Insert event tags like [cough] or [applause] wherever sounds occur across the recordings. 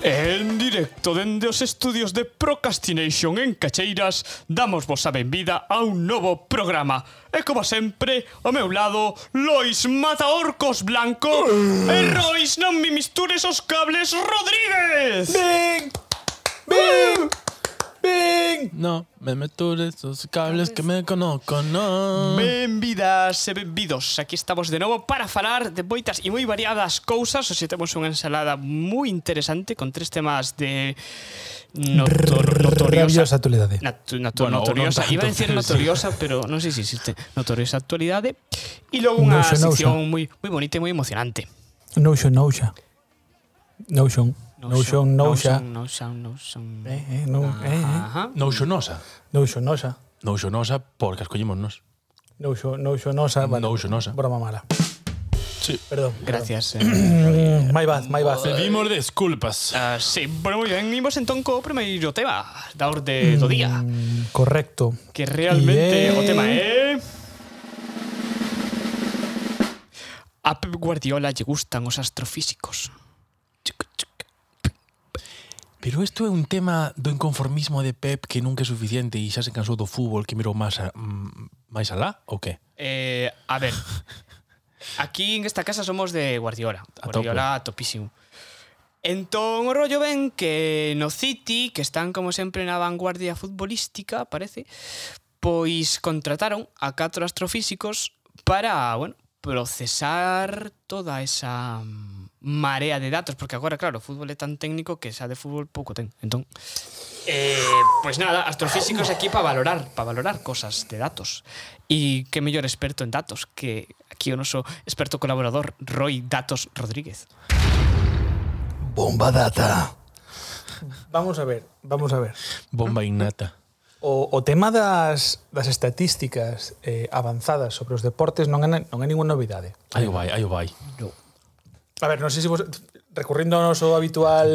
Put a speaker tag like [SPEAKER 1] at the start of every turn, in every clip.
[SPEAKER 1] En directo dende os estudios de Procrastination en Cacheiras Damos vos a benvida a un novo programa E como sempre, ao meu lado, Lois Mataorcos Blanco E Rois, non me mistures os cables, Rodríguez
[SPEAKER 2] ¡Bing! ¡Bing! ¡Bing!
[SPEAKER 3] No, me meto de esos cables que me conozco, no.
[SPEAKER 1] Benvidas e benvidos, aquí estamos de novo para falar de moitas e moi variadas cousas Hoxe temos unha ensalada moi interesante con tres temas de notor notoriosa
[SPEAKER 2] Rabiosa actualidade.
[SPEAKER 1] Natu natu
[SPEAKER 3] Bueno,
[SPEAKER 1] notoriosa.
[SPEAKER 3] non tanto,
[SPEAKER 1] Iba a
[SPEAKER 3] [laughs]
[SPEAKER 1] decir
[SPEAKER 3] pero sí.
[SPEAKER 1] notoriosa, pero non sei se existe notoriosa actualidade. E logo unha
[SPEAKER 2] Nousa, nousa.
[SPEAKER 1] sección moi moi bonita e moi emocionante.
[SPEAKER 2] Notion, Notion. Notion. Notion, Notion.
[SPEAKER 1] Notion, Notion.
[SPEAKER 2] Eh, eh, no, eh, eh.
[SPEAKER 1] Ajá.
[SPEAKER 3] No xonosa.
[SPEAKER 2] Notion, Notion.
[SPEAKER 3] No xonosa porque as collemos nos.
[SPEAKER 2] Notion, Notion, Notion. Vale.
[SPEAKER 3] Notion, Notion.
[SPEAKER 2] Broma mala.
[SPEAKER 3] Sí.
[SPEAKER 2] Perdón.
[SPEAKER 1] Gracias. Eh.
[SPEAKER 2] [clears throat] Mm, my bad, my bad.
[SPEAKER 3] Pedimos desculpas.
[SPEAKER 1] Ah, sí, bueno, moi ben, imos entón co primeiro tema da orde do día,
[SPEAKER 2] Mm, Correcto.
[SPEAKER 1] que realmente
[SPEAKER 2] Yeah.
[SPEAKER 1] o tema é A Pep Guardiola lle gustan os astrofísicos.
[SPEAKER 3] Pero isto é un tema do inconformismo de Pep que nunca é suficiente e xa se cansou do fútbol que mirou máis a, mm, máis alá ou que?
[SPEAKER 1] Eh, a ver. [laughs] Aquí en esta casa somos de Guardiola.
[SPEAKER 3] A
[SPEAKER 1] Guardiola a topísimo. Entón, o rollo ven que no City, que están como sempre na vanguardia futbolística, parece, pois contrataron a catro astrofísicos para, bueno, procesar toda esa mm, marea de datos, porque agora, claro, o fútbol é tan técnico que xa de fútbol pouco ten. Entón, Eh, pues nada, astrofísicos aquí para valorar, para valorar cosas de datos. Y qué mejor experto en datos que aquí o noso experto colaborador Roy Datos Rodríguez.
[SPEAKER 2] Bomba data. Vamos a ver, vamos a ver.
[SPEAKER 3] Bomba innata.
[SPEAKER 2] O, o tema das, das estatísticas eh, avanzadas sobre os deportes non é, non é ninguna novidade.
[SPEAKER 3] Aí o vai, aí o vai.
[SPEAKER 2] A ver, non sei se vos, recurrindo ao noso habitual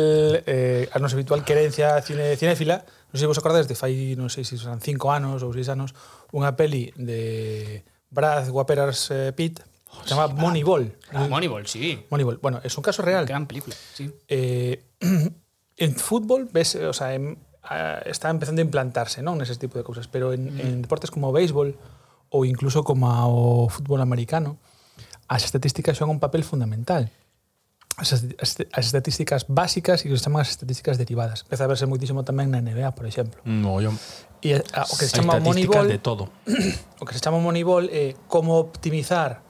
[SPEAKER 2] eh, a nosa habitual querencia cine, cinéfila, non sei se vos acordades de fai, non sei se son cinco anos ou seis anos, unha peli de Brad Waperas eh, Pitt, oh, chama Moneyball.
[SPEAKER 1] Ah, Moneyball, sí.
[SPEAKER 2] Moneyball. Bueno, es un caso real.
[SPEAKER 1] Gran película, sí.
[SPEAKER 2] Eh, [clears throat] en fútbol ves, o sea, em, ah, está empezando a implantarse, ¿no? En ese tipo de cosas, pero en, en deportes como béisbol ou incluso como o fútbol americano, as estatísticas xogan un papel fundamental. As, est- as, est- as estatísticas básicas e que se chaman as estatísticas derivadas. Empeza a verse moitísimo tamén na NBA, por exemplo.
[SPEAKER 3] No, yo...
[SPEAKER 2] E ah, o que se
[SPEAKER 3] Hai
[SPEAKER 2] chama
[SPEAKER 3] estatísticas
[SPEAKER 2] Moneyball
[SPEAKER 3] de todo.
[SPEAKER 2] o que se chama Moneyball é como optimizar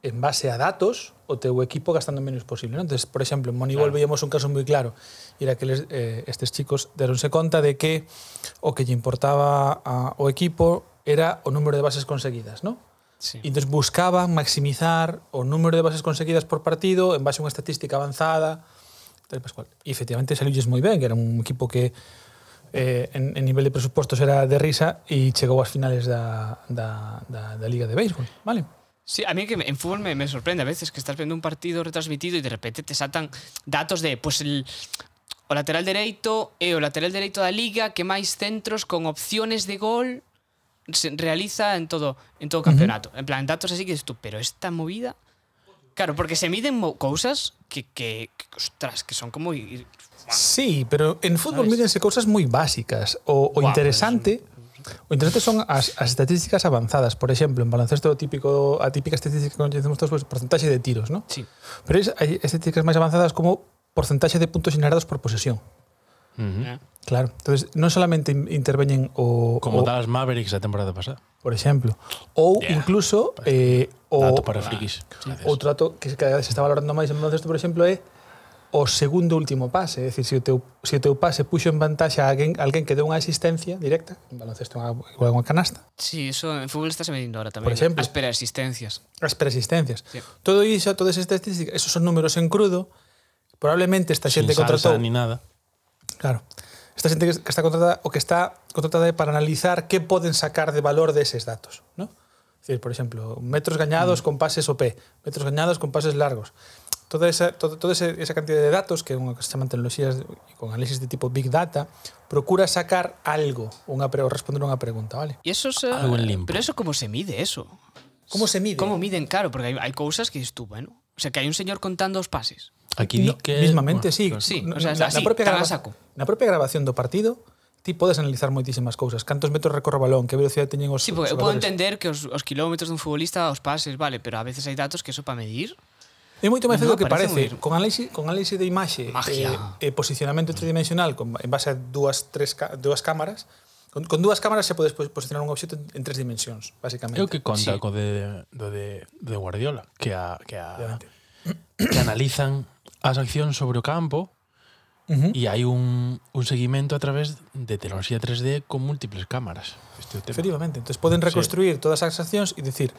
[SPEAKER 2] en base a datos o teu equipo gastando menos posible. ¿no? Entonces, por exemplo, en Moneyball claro. veíamos un caso moi claro e era que les, eh, estes chicos deronse conta de que o que lle importaba a, o equipo era o número de bases conseguidas, ¿no?
[SPEAKER 1] sí.
[SPEAKER 2] E entón buscaban maximizar o número de bases conseguidas por partido en base a unha estatística avanzada, tal e pascual. E efectivamente saliulles moi ben, que era un equipo que eh, en, en nivel de presupostos era de risa e chegou ás finales da, da, da, da Liga de Béisbol, vale?
[SPEAKER 1] Sí, a mí que me- en fútbol me, me sorprende a veces que estás viendo un partido retransmitido y de repente te saltan datos de, pues, el, o lateral dereito e o lateral dereito da liga que máis centros con opciones de gol se realiza en todo en todo o campeonato. En plan, datos así que dices tú, pero esta movida... Claro, porque se miden mo- cousas que, que, que, ostras, que son como... ir-
[SPEAKER 2] Sí, pero en fútbol
[SPEAKER 1] ¿Sabes?
[SPEAKER 2] mídense cousas moi básicas. O, o
[SPEAKER 1] Guau,
[SPEAKER 2] interesante O interesante son as, as estatísticas avanzadas. Por exemplo, en baloncesto o típico, a típica estatística que coñecemos todos, pois, porcentaxe de tiros, ¿no?
[SPEAKER 1] Sí.
[SPEAKER 2] Pero es, hai estatísticas máis avanzadas como porcentaxe de puntos generados por posesión.
[SPEAKER 1] Eh.
[SPEAKER 2] Claro. Entonces, non solamente in- interveñen o,
[SPEAKER 3] Como
[SPEAKER 2] o
[SPEAKER 3] Dallas Mavericks a temporada pasada.
[SPEAKER 2] por exemplo, ou yeah. incluso eh, o Ah,
[SPEAKER 3] Dato para frikis. Gracias.
[SPEAKER 2] outro dato que cada vez se está valorando máis en baloncesto, por exemplo, é o segundo último pase, é dicir, se o teu, se o teu pase puxo en vantaxe a alguén, alguén que deu unha asistencia directa, en baloncesto é unha- igual unha canasta,
[SPEAKER 1] Sí, eso en fútbol está se medindo ahora tamén.
[SPEAKER 2] Por exemplo.
[SPEAKER 1] A espera, existencias.
[SPEAKER 2] as persistencias.
[SPEAKER 1] Sí.
[SPEAKER 2] Todo iso, todas esas estatísticas, esos son números en crudo, probablemente esta
[SPEAKER 3] Sin
[SPEAKER 2] xente
[SPEAKER 3] salsa
[SPEAKER 2] contratou
[SPEAKER 3] ni nada.
[SPEAKER 2] Claro. Esta xente que está contratada o que está contratada é para analizar que poden sacar de valor deses datos, ¿no? Es decir, por exemplo, metros gañados
[SPEAKER 1] Mm.
[SPEAKER 2] con pases OP, metros gañados con pases largos. Toda esa todo, toda ese- esa cantidad de datos que é unha que se chaman tecnoloxías de- con análisis de tipo big data, procura sacar algo, unha pre, ou responder unha pregunta, vale?
[SPEAKER 1] Y eso es... eh,
[SPEAKER 3] Algo en limpo.
[SPEAKER 1] Pero eso, ¿cómo se mide eso?
[SPEAKER 2] Como se mide?
[SPEAKER 1] ¿Cómo miden? Claro, porque hay, hay cosas que dices tú, bueno, sea, que hai un señor contando os pases.
[SPEAKER 3] Aquí di
[SPEAKER 2] Ti-
[SPEAKER 3] que...
[SPEAKER 2] mismamente, sí.
[SPEAKER 1] Sí,
[SPEAKER 2] No,
[SPEAKER 1] o sea,
[SPEAKER 2] na-
[SPEAKER 1] así,
[SPEAKER 2] na propia
[SPEAKER 1] tal a
[SPEAKER 2] grava-
[SPEAKER 1] saco.
[SPEAKER 2] Na propia grabación do partido, ti podes analizar moitísimas cousas. Cantos metros recorre o balón, que velocidade teñen os
[SPEAKER 1] Sí, porque eu podo
[SPEAKER 2] xogadores.
[SPEAKER 1] entender que os, os kilómetros dun futbolista, os pases, vale, pero a veces hai datos que eso para medir.
[SPEAKER 2] É moito máis fácil
[SPEAKER 1] No,
[SPEAKER 2] do que
[SPEAKER 1] parece
[SPEAKER 2] parece.
[SPEAKER 1] moi-
[SPEAKER 2] Con análise, con análise de imaxe
[SPEAKER 1] Magia.
[SPEAKER 2] e, e posicionamento tridimensional con, en base a dúas, tres, ca- dúas cámaras, con, con dúas cámaras se podes pos- posicionar un obxecto en, en tres dimensións,
[SPEAKER 3] É
[SPEAKER 2] basicamente.
[SPEAKER 3] o que
[SPEAKER 1] Sí.
[SPEAKER 3] conta sí. co de, do de, de Guardiola, que a, que a,
[SPEAKER 2] Obviamente.
[SPEAKER 3] [clears throat] que analizan as accións sobre o campo
[SPEAKER 2] Ujú.
[SPEAKER 3] e hai un, un seguimento a través de tecnoloxía 3D con múltiples cámaras. Este é o tema.
[SPEAKER 2] Efectivamente. Entonces poden reconstruir todas as accións e dicir,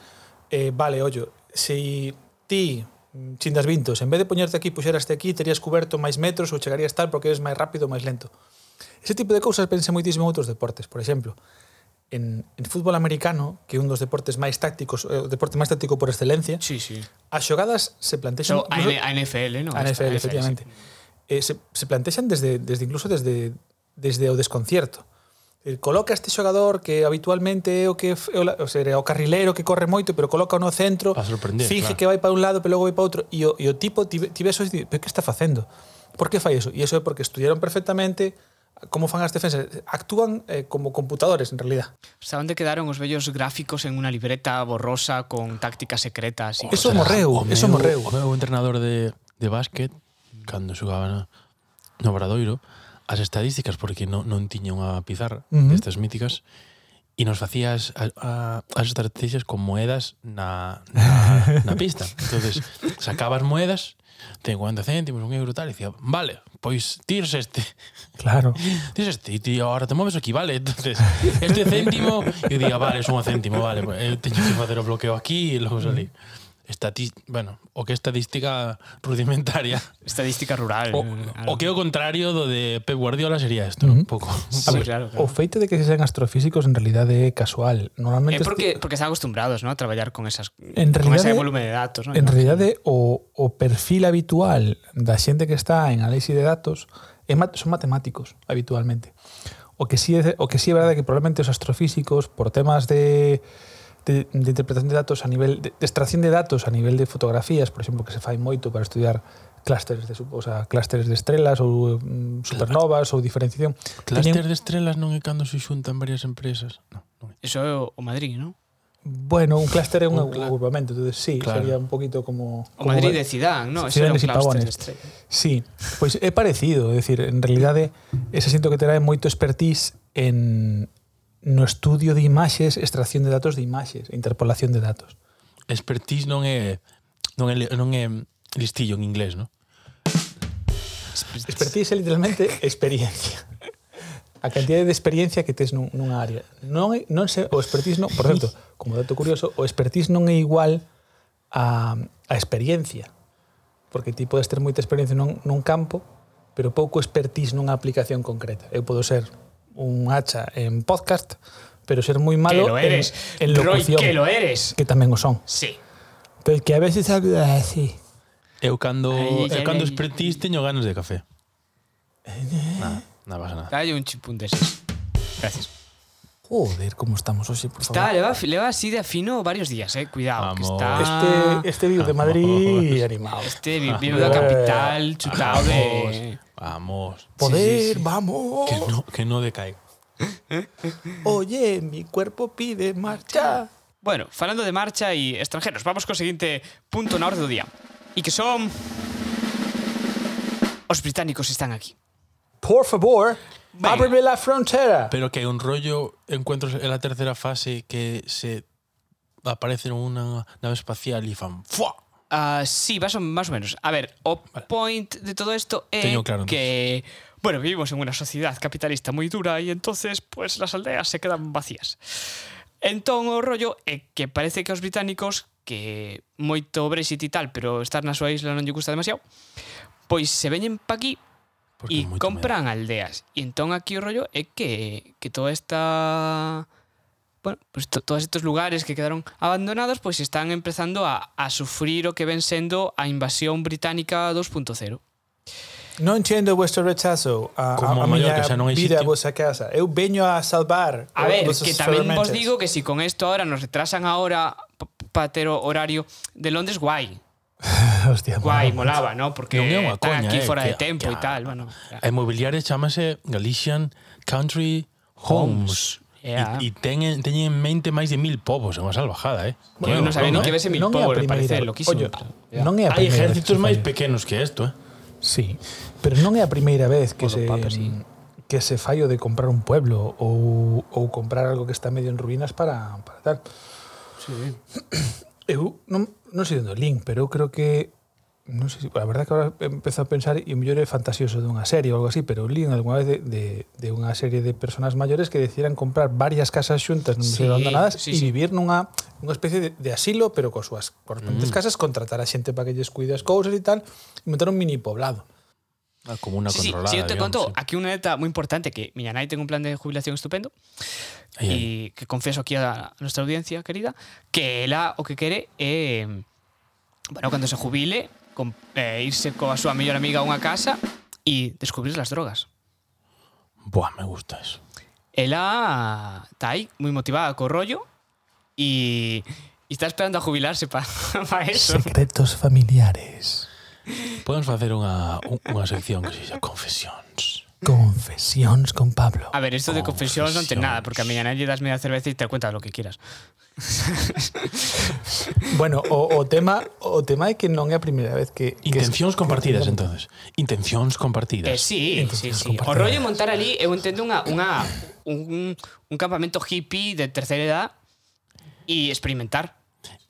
[SPEAKER 2] eh, vale, ollo, se ti mm, chin das vintos, en vez de poñerte aquí, puxeraste aquí, terías cuberto máis metros ou chegarías tal porque eres máis rápido ou máis lento. Ese tipo de cousas pensa moitísimo en outros deportes, por exemplo. En, en fútbol americano, que é un dos deportes máis tácticos, eh, o deporte máis táctico por excelencia,
[SPEAKER 1] Sí, sí.
[SPEAKER 2] as xogadas se plantexan...
[SPEAKER 1] So, a, N- a NFL, ¿no?
[SPEAKER 2] A NFL, efectivamente. Eh, se, se plantexan desde, desde incluso desde, desde o desconcierto. Eh, Coloca este xogador que habitualmente é o que f- é o, la- o, sea, o carrilero que corre moito, pero coloca no centro,
[SPEAKER 3] Pa sorprender, claro.
[SPEAKER 2] finge que vai para un lado, pero logo vai para outro, e o, e o tipo ti, ti ves, e pero que está facendo? Por que fai eso? E eso é porque estudiaron perfectamente como fan as defensas. Actúan eh, como computadores, en realidad.
[SPEAKER 1] Hasta onde quedaron os bellos gráficos en unha libreta borrosa con tácticas secretas e
[SPEAKER 2] Eso
[SPEAKER 1] cosas.
[SPEAKER 2] morreu,
[SPEAKER 3] O
[SPEAKER 2] eso
[SPEAKER 3] meu-
[SPEAKER 2] morreu.
[SPEAKER 3] O meu entrenador de, de básquet, cando xugaba no, no Bradoiro, as estadísticas, porque non, non tiña unha pizarra uh
[SPEAKER 2] Ujú.
[SPEAKER 3] -huh. destas míticas, e nos facías a, a, as estrategias con moedas na, na,
[SPEAKER 2] [laughs]
[SPEAKER 3] na pista. entonces sacabas moedas, ten 40 céntimos, un euro tal, e dicía, vale, pois tirs este,
[SPEAKER 2] Claro.
[SPEAKER 3] tirs este, e ti ahora te moves aquí, vale, entonces este céntimo, e eu día, vale, é un céntimo, vale, pois eu teño que facer o bloqueo aquí e logo salí. Estati bueno, o que é estadística rudimentaria.
[SPEAKER 1] Estadística rural.
[SPEAKER 3] O,
[SPEAKER 1] eh,
[SPEAKER 3] o que é o contrario do de Pep Guardiola sería isto, uh -huh. un pouco.
[SPEAKER 1] Sí, claro, claro.
[SPEAKER 2] O feito de que se sean astrofísicos en realidad é casual.
[SPEAKER 1] É
[SPEAKER 2] Normalmente
[SPEAKER 1] Eh, porque, porque están acostumbrados ¿no? a traballar con esas
[SPEAKER 2] En
[SPEAKER 1] con ese
[SPEAKER 2] realidade-
[SPEAKER 1] volumen de datos. ¿no?
[SPEAKER 2] En realidade, o, o perfil habitual da xente que está en análise de datos é, mat- son matemáticos, habitualmente. O que sí é, o que sí é verdade é que probablemente os astrofísicos, por temas de, de, de interpretación de datos a nivel de, de extracción de datos a nivel de fotografías, por exemplo, que se fai moito para estudiar clústeres de, su- o sea, clústeres de estrelas ou mm, supernovas ou diferenciación.
[SPEAKER 3] Cluster de estrelas non é cando se xuntan varias empresas. No, non é.
[SPEAKER 1] Eso é o o Madrid, ¿no?
[SPEAKER 2] Bueno, un clúster é un,
[SPEAKER 3] Un cla-
[SPEAKER 2] agrupamento, entonces sí,
[SPEAKER 3] Claro.
[SPEAKER 2] sería un poquito como...
[SPEAKER 1] O
[SPEAKER 2] como
[SPEAKER 1] Madrid
[SPEAKER 2] ver-
[SPEAKER 1] de Zidane, ¿no? Eso
[SPEAKER 2] Zidane
[SPEAKER 1] era un
[SPEAKER 2] y
[SPEAKER 1] clúster de
[SPEAKER 2] Pavones.
[SPEAKER 1] estrellas.
[SPEAKER 2] Sí, pois é parecido, é dicir, en realidade ese sinto que terá moito expertise en no estudio de imaxes, extracción de datos de imaxes, e interpolación de datos.
[SPEAKER 3] Expertise non é non é non é listillo en inglés, non?
[SPEAKER 2] Expertise é literalmente experiencia. A cantidade de experiencia que tes nun, nunha área. Non é, non se, o expertise non, por certo, como dato curioso, o expertise non é igual a, a experiencia. Porque ti podes ter moita experiencia nun, nun campo, pero pouco expertise nunha aplicación concreta. Eu podo ser un hacha en podcast, pero ser moi
[SPEAKER 1] Que lo
[SPEAKER 2] malo
[SPEAKER 1] eres.
[SPEAKER 2] en, en
[SPEAKER 1] Roy,
[SPEAKER 2] locución,
[SPEAKER 1] que lo eres.
[SPEAKER 2] que tamén o son.
[SPEAKER 1] Sí.
[SPEAKER 2] Pero que a veces eh, habla así.
[SPEAKER 3] Eu cando
[SPEAKER 1] Ai, ai,
[SPEAKER 3] eu
[SPEAKER 1] ai.
[SPEAKER 3] cando expertise teño ganas de café. Nada, nada pasa nada.
[SPEAKER 1] Calle un chimpún deses. Gracias.
[SPEAKER 2] Joder, como estamos hoxe, por favor.
[SPEAKER 1] Está, le, va, le va así de afino varios días, eh. Cuidado. Que
[SPEAKER 3] Vamos.
[SPEAKER 1] está...
[SPEAKER 2] Este, este vídeo de Madrid [laughs] animado.
[SPEAKER 1] Este vi- vive da
[SPEAKER 2] Vamos.
[SPEAKER 1] capital chutado de...
[SPEAKER 3] Vamos.
[SPEAKER 2] Poder,
[SPEAKER 3] Sí, sí, sí.
[SPEAKER 2] vamos.
[SPEAKER 3] Que no que no decaiga.
[SPEAKER 2] Oye, mi cuerpo pide marcha.
[SPEAKER 1] Bueno, falando de marcha e extranjeros, vamos co seguinte punto na orde do día. E que son... Os británicos están aquí.
[SPEAKER 2] Por favor,
[SPEAKER 1] Venga.
[SPEAKER 2] ábreme la frontera.
[SPEAKER 3] Pero que hai un rollo encuentros en la tercera fase que se aparece unha nave espacial e fan ¡fua!
[SPEAKER 1] Ah, sí, más o, más o menos. A ver, o point de todo esto es
[SPEAKER 3] Teño claro,
[SPEAKER 1] que, bueno, vivimos en una sociedad capitalista muy dura y entonces, pues, las aldeas se quedan vacías. Entón, o rollo é que parece que os británicos, que moito Brexit e tal, pero estar na súa isla non lle gusta demasiado, pois se veñen pa aquí
[SPEAKER 3] Porque
[SPEAKER 1] e
[SPEAKER 3] é moito
[SPEAKER 1] compran aldeas. E entón aquí o rollo é que, que toda esta... Bueno, pues to, todos estos lugares que quedaron abandonados pois están empezando a, a sufrir o que ven sendo a invasión británica 2.0.
[SPEAKER 2] No entiendo vuestro rechazo a,
[SPEAKER 3] Como
[SPEAKER 2] a, a
[SPEAKER 3] maior
[SPEAKER 2] miña
[SPEAKER 3] que xa non existe.
[SPEAKER 2] vida a vosa casa. Eu veño a salvar
[SPEAKER 1] A ver,
[SPEAKER 2] vosas
[SPEAKER 1] que tamén vos
[SPEAKER 2] ferramentas.
[SPEAKER 1] digo que si con esto ahora nos retrasan ahora para ter o horario de Londres, guai.
[SPEAKER 2] [laughs] Hostia,
[SPEAKER 1] Guai, molaba,
[SPEAKER 2] molaba.
[SPEAKER 1] ¿no? Porque
[SPEAKER 3] Non é unha
[SPEAKER 1] está
[SPEAKER 3] coña,
[SPEAKER 1] aquí
[SPEAKER 3] eh,
[SPEAKER 1] fora de
[SPEAKER 3] que- ah.
[SPEAKER 1] tempo
[SPEAKER 3] que
[SPEAKER 1] e
[SPEAKER 3] a-
[SPEAKER 1] tal, bueno.
[SPEAKER 3] A inmobiliaria chamase Galician Country Homes.
[SPEAKER 1] Yeah.
[SPEAKER 3] E, e teñen, teñen en mente máis de mil povos, é unha salvajada, eh?
[SPEAKER 1] Bueno, non sabía
[SPEAKER 3] sabía
[SPEAKER 1] nin que vese mil
[SPEAKER 2] Non é a
[SPEAKER 1] pobres, me
[SPEAKER 2] primeira.
[SPEAKER 1] parece loquísimo.
[SPEAKER 2] Ollo,
[SPEAKER 1] Ya.
[SPEAKER 2] non é
[SPEAKER 3] Hai
[SPEAKER 2] a primeira vez que
[SPEAKER 3] ejércitos
[SPEAKER 2] se
[SPEAKER 3] máis
[SPEAKER 2] falla.
[SPEAKER 3] pequenos que isto, eh?
[SPEAKER 2] Sí, pero non é a primeira vez que
[SPEAKER 1] Todo
[SPEAKER 2] se
[SPEAKER 1] papa, sí.
[SPEAKER 2] que se fallo de comprar un pueblo ou, ou comprar algo que está medio en ruínas para, para tal.
[SPEAKER 1] Sí.
[SPEAKER 2] Eu non, non sei onde o link, pero eu creo que non sei, se- a verdade é que agora empezo a pensar e o mellor é fantasioso dunha serie ou algo así, pero link algunha vez de, de, de unha serie de personas maiores que decidiran comprar varias casas xuntas non
[SPEAKER 1] Sí,
[SPEAKER 2] sei onde nadas
[SPEAKER 1] sí,
[SPEAKER 2] e
[SPEAKER 1] sí.
[SPEAKER 2] vivir nunha unha especie de, de asilo, pero coas súas correspondentes mm. casas, contratar a xente para que lles cuide as cousas e tal, e montar un mini poblado.
[SPEAKER 3] A comuna
[SPEAKER 1] Sí, sí,
[SPEAKER 3] controlada.
[SPEAKER 1] sí, yo te
[SPEAKER 3] digamos,
[SPEAKER 1] conto
[SPEAKER 3] sí.
[SPEAKER 1] aquí una neta muy importante que mi nai tengo un plan de jubilación estupendo
[SPEAKER 3] Ai, ai.
[SPEAKER 1] y que confieso aquí a nuestra audiencia querida que ela o que quere é bueno, cando se jubile com, eh, irse coa súa mellor amiga a unha casa e descubrir las drogas.
[SPEAKER 3] Buah, me gusta eso.
[SPEAKER 1] Ela está aí moi motivada co rollo e e está esperando a jubilarse para pa [laughs] eso.
[SPEAKER 2] Secretos familiares.
[SPEAKER 3] Podemos facer unha, un- unha sección que se xa Confesións.
[SPEAKER 2] Confesións con Pablo.
[SPEAKER 1] A ver, esto de confesións non ten nada, porque a miña nai lle das media cerveza e te cuentas lo que quieras.
[SPEAKER 2] Bueno, o, o tema o tema é que non é a primeira vez que, que
[SPEAKER 3] Intencións compartidas, entonces. Intencións compartidas.
[SPEAKER 1] Eh, sí, sí,
[SPEAKER 2] Entonces, nos
[SPEAKER 1] sí. O
[SPEAKER 2] compartirás.
[SPEAKER 1] rollo de montar allí, eu entendo unha, unha, un, un campamento hippie de terceira edad e experimentar.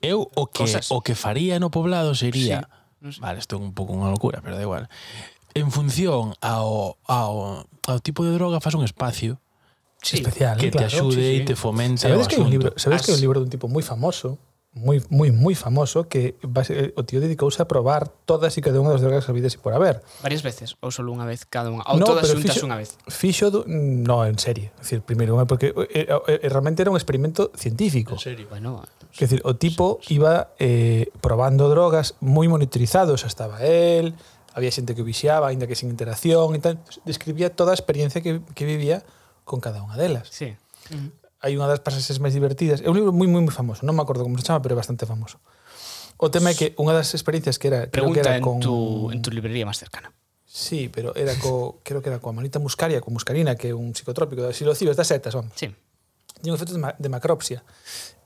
[SPEAKER 3] Eu o que
[SPEAKER 1] Cosas.
[SPEAKER 3] o que faría no poblado sería, vale, isto é un pouco unha locura, pero da igual. En función ao ao ao tipo de droga fas un espacio
[SPEAKER 1] Sí.
[SPEAKER 2] especial,
[SPEAKER 3] que te
[SPEAKER 2] claro.
[SPEAKER 3] axude
[SPEAKER 1] sí,
[SPEAKER 3] e
[SPEAKER 1] sí.
[SPEAKER 3] te fomente o
[SPEAKER 2] Sabedes que hai un
[SPEAKER 3] asunto.
[SPEAKER 2] libro, sabedes que hai un libro dun tipo moi famoso, moi moi moi famoso que base, eh, o tío dedicouse a probar todas e cada unha das drogas habidas e por haber.
[SPEAKER 1] Varias veces, ou solo unha vez cada unha, ou todas
[SPEAKER 2] pero
[SPEAKER 1] xuntas
[SPEAKER 2] fixo-
[SPEAKER 1] unha vez.
[SPEAKER 2] Fixo, do, no, en serie. Es decir, primeiro, porque eh, eh, realmente era un experimento científico.
[SPEAKER 3] serio.
[SPEAKER 1] Bueno,
[SPEAKER 2] Es decir, o tipo iba eh, probando drogas moi monitorizados, estaba él, había xente que o vixiaba, aínda que sin interacción e tal. Describía toda a experiencia que, que vivía con cada unha delas.
[SPEAKER 1] sí.
[SPEAKER 2] Hai unha das pasaxes máis divertidas. É un libro moi moi moi famoso, non me acordo como se chama, pero é bastante famoso. O tema é que unha das experiencias que era, creo que
[SPEAKER 1] Pregunta en
[SPEAKER 2] era con
[SPEAKER 1] tu, en tu librería máis cercana.
[SPEAKER 2] Sí, pero era co, [laughs] creo que era coa Manita Muscaria, con muscarina, que é un psicotrópico, da psilocibes, das setas, vamos.
[SPEAKER 1] Sí.
[SPEAKER 2] tiña un efecto de, ma- de macropsia.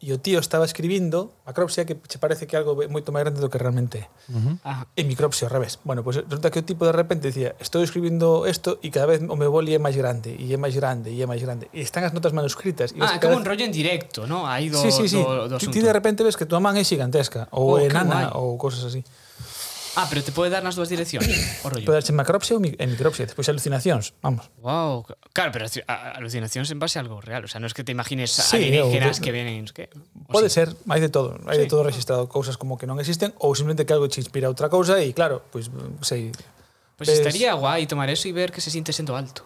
[SPEAKER 2] E o tío estaba escribindo macropsia que che parece que é algo be- moito máis grande do que realmente é.
[SPEAKER 1] Ah,
[SPEAKER 2] E micropsia ao revés. Bueno, pois pues, resulta que o tipo de repente dicía estou escribindo isto e cada vez o meu boli é máis grande, e é máis grande, e é máis grande. E están as notas manuscritas. E ves
[SPEAKER 1] ah é
[SPEAKER 2] que
[SPEAKER 1] como
[SPEAKER 2] cada
[SPEAKER 1] un
[SPEAKER 2] vez-
[SPEAKER 1] rollo en directo, ¿no? Aí do,
[SPEAKER 2] Sí, sí, sí.
[SPEAKER 1] do, do
[SPEAKER 2] Ti-
[SPEAKER 1] asunto.
[SPEAKER 2] ti de repente ves que tua man é gigantesca,
[SPEAKER 1] Oh,
[SPEAKER 2] ou
[SPEAKER 1] que
[SPEAKER 2] é
[SPEAKER 1] guai.
[SPEAKER 2] nana, ou cousas así.
[SPEAKER 1] Ah, pero te pode dar nas dúas direccións,
[SPEAKER 2] [coughs]
[SPEAKER 1] o rollo.
[SPEAKER 2] Pode darse macropsia ou mi- e micropsia, despois alucinacións, vamos.
[SPEAKER 1] Wow, claro, pero aci- a- alucinacións en base a algo real, o sea, no es que te imagines
[SPEAKER 2] Sí,
[SPEAKER 1] alienígenas
[SPEAKER 2] o-
[SPEAKER 1] que vienen, es que o
[SPEAKER 2] Pode
[SPEAKER 1] Oh, sí.
[SPEAKER 2] ser, hai de todo, hai sí. de
[SPEAKER 1] Sí.
[SPEAKER 2] todo registrado, cousas como que non existen ou simplemente que algo che inspira a outra cousa e claro, pois pues, sei,
[SPEAKER 1] Pues
[SPEAKER 2] Ves-
[SPEAKER 1] estaría guay tomar eso y ver que se siente siendo alto.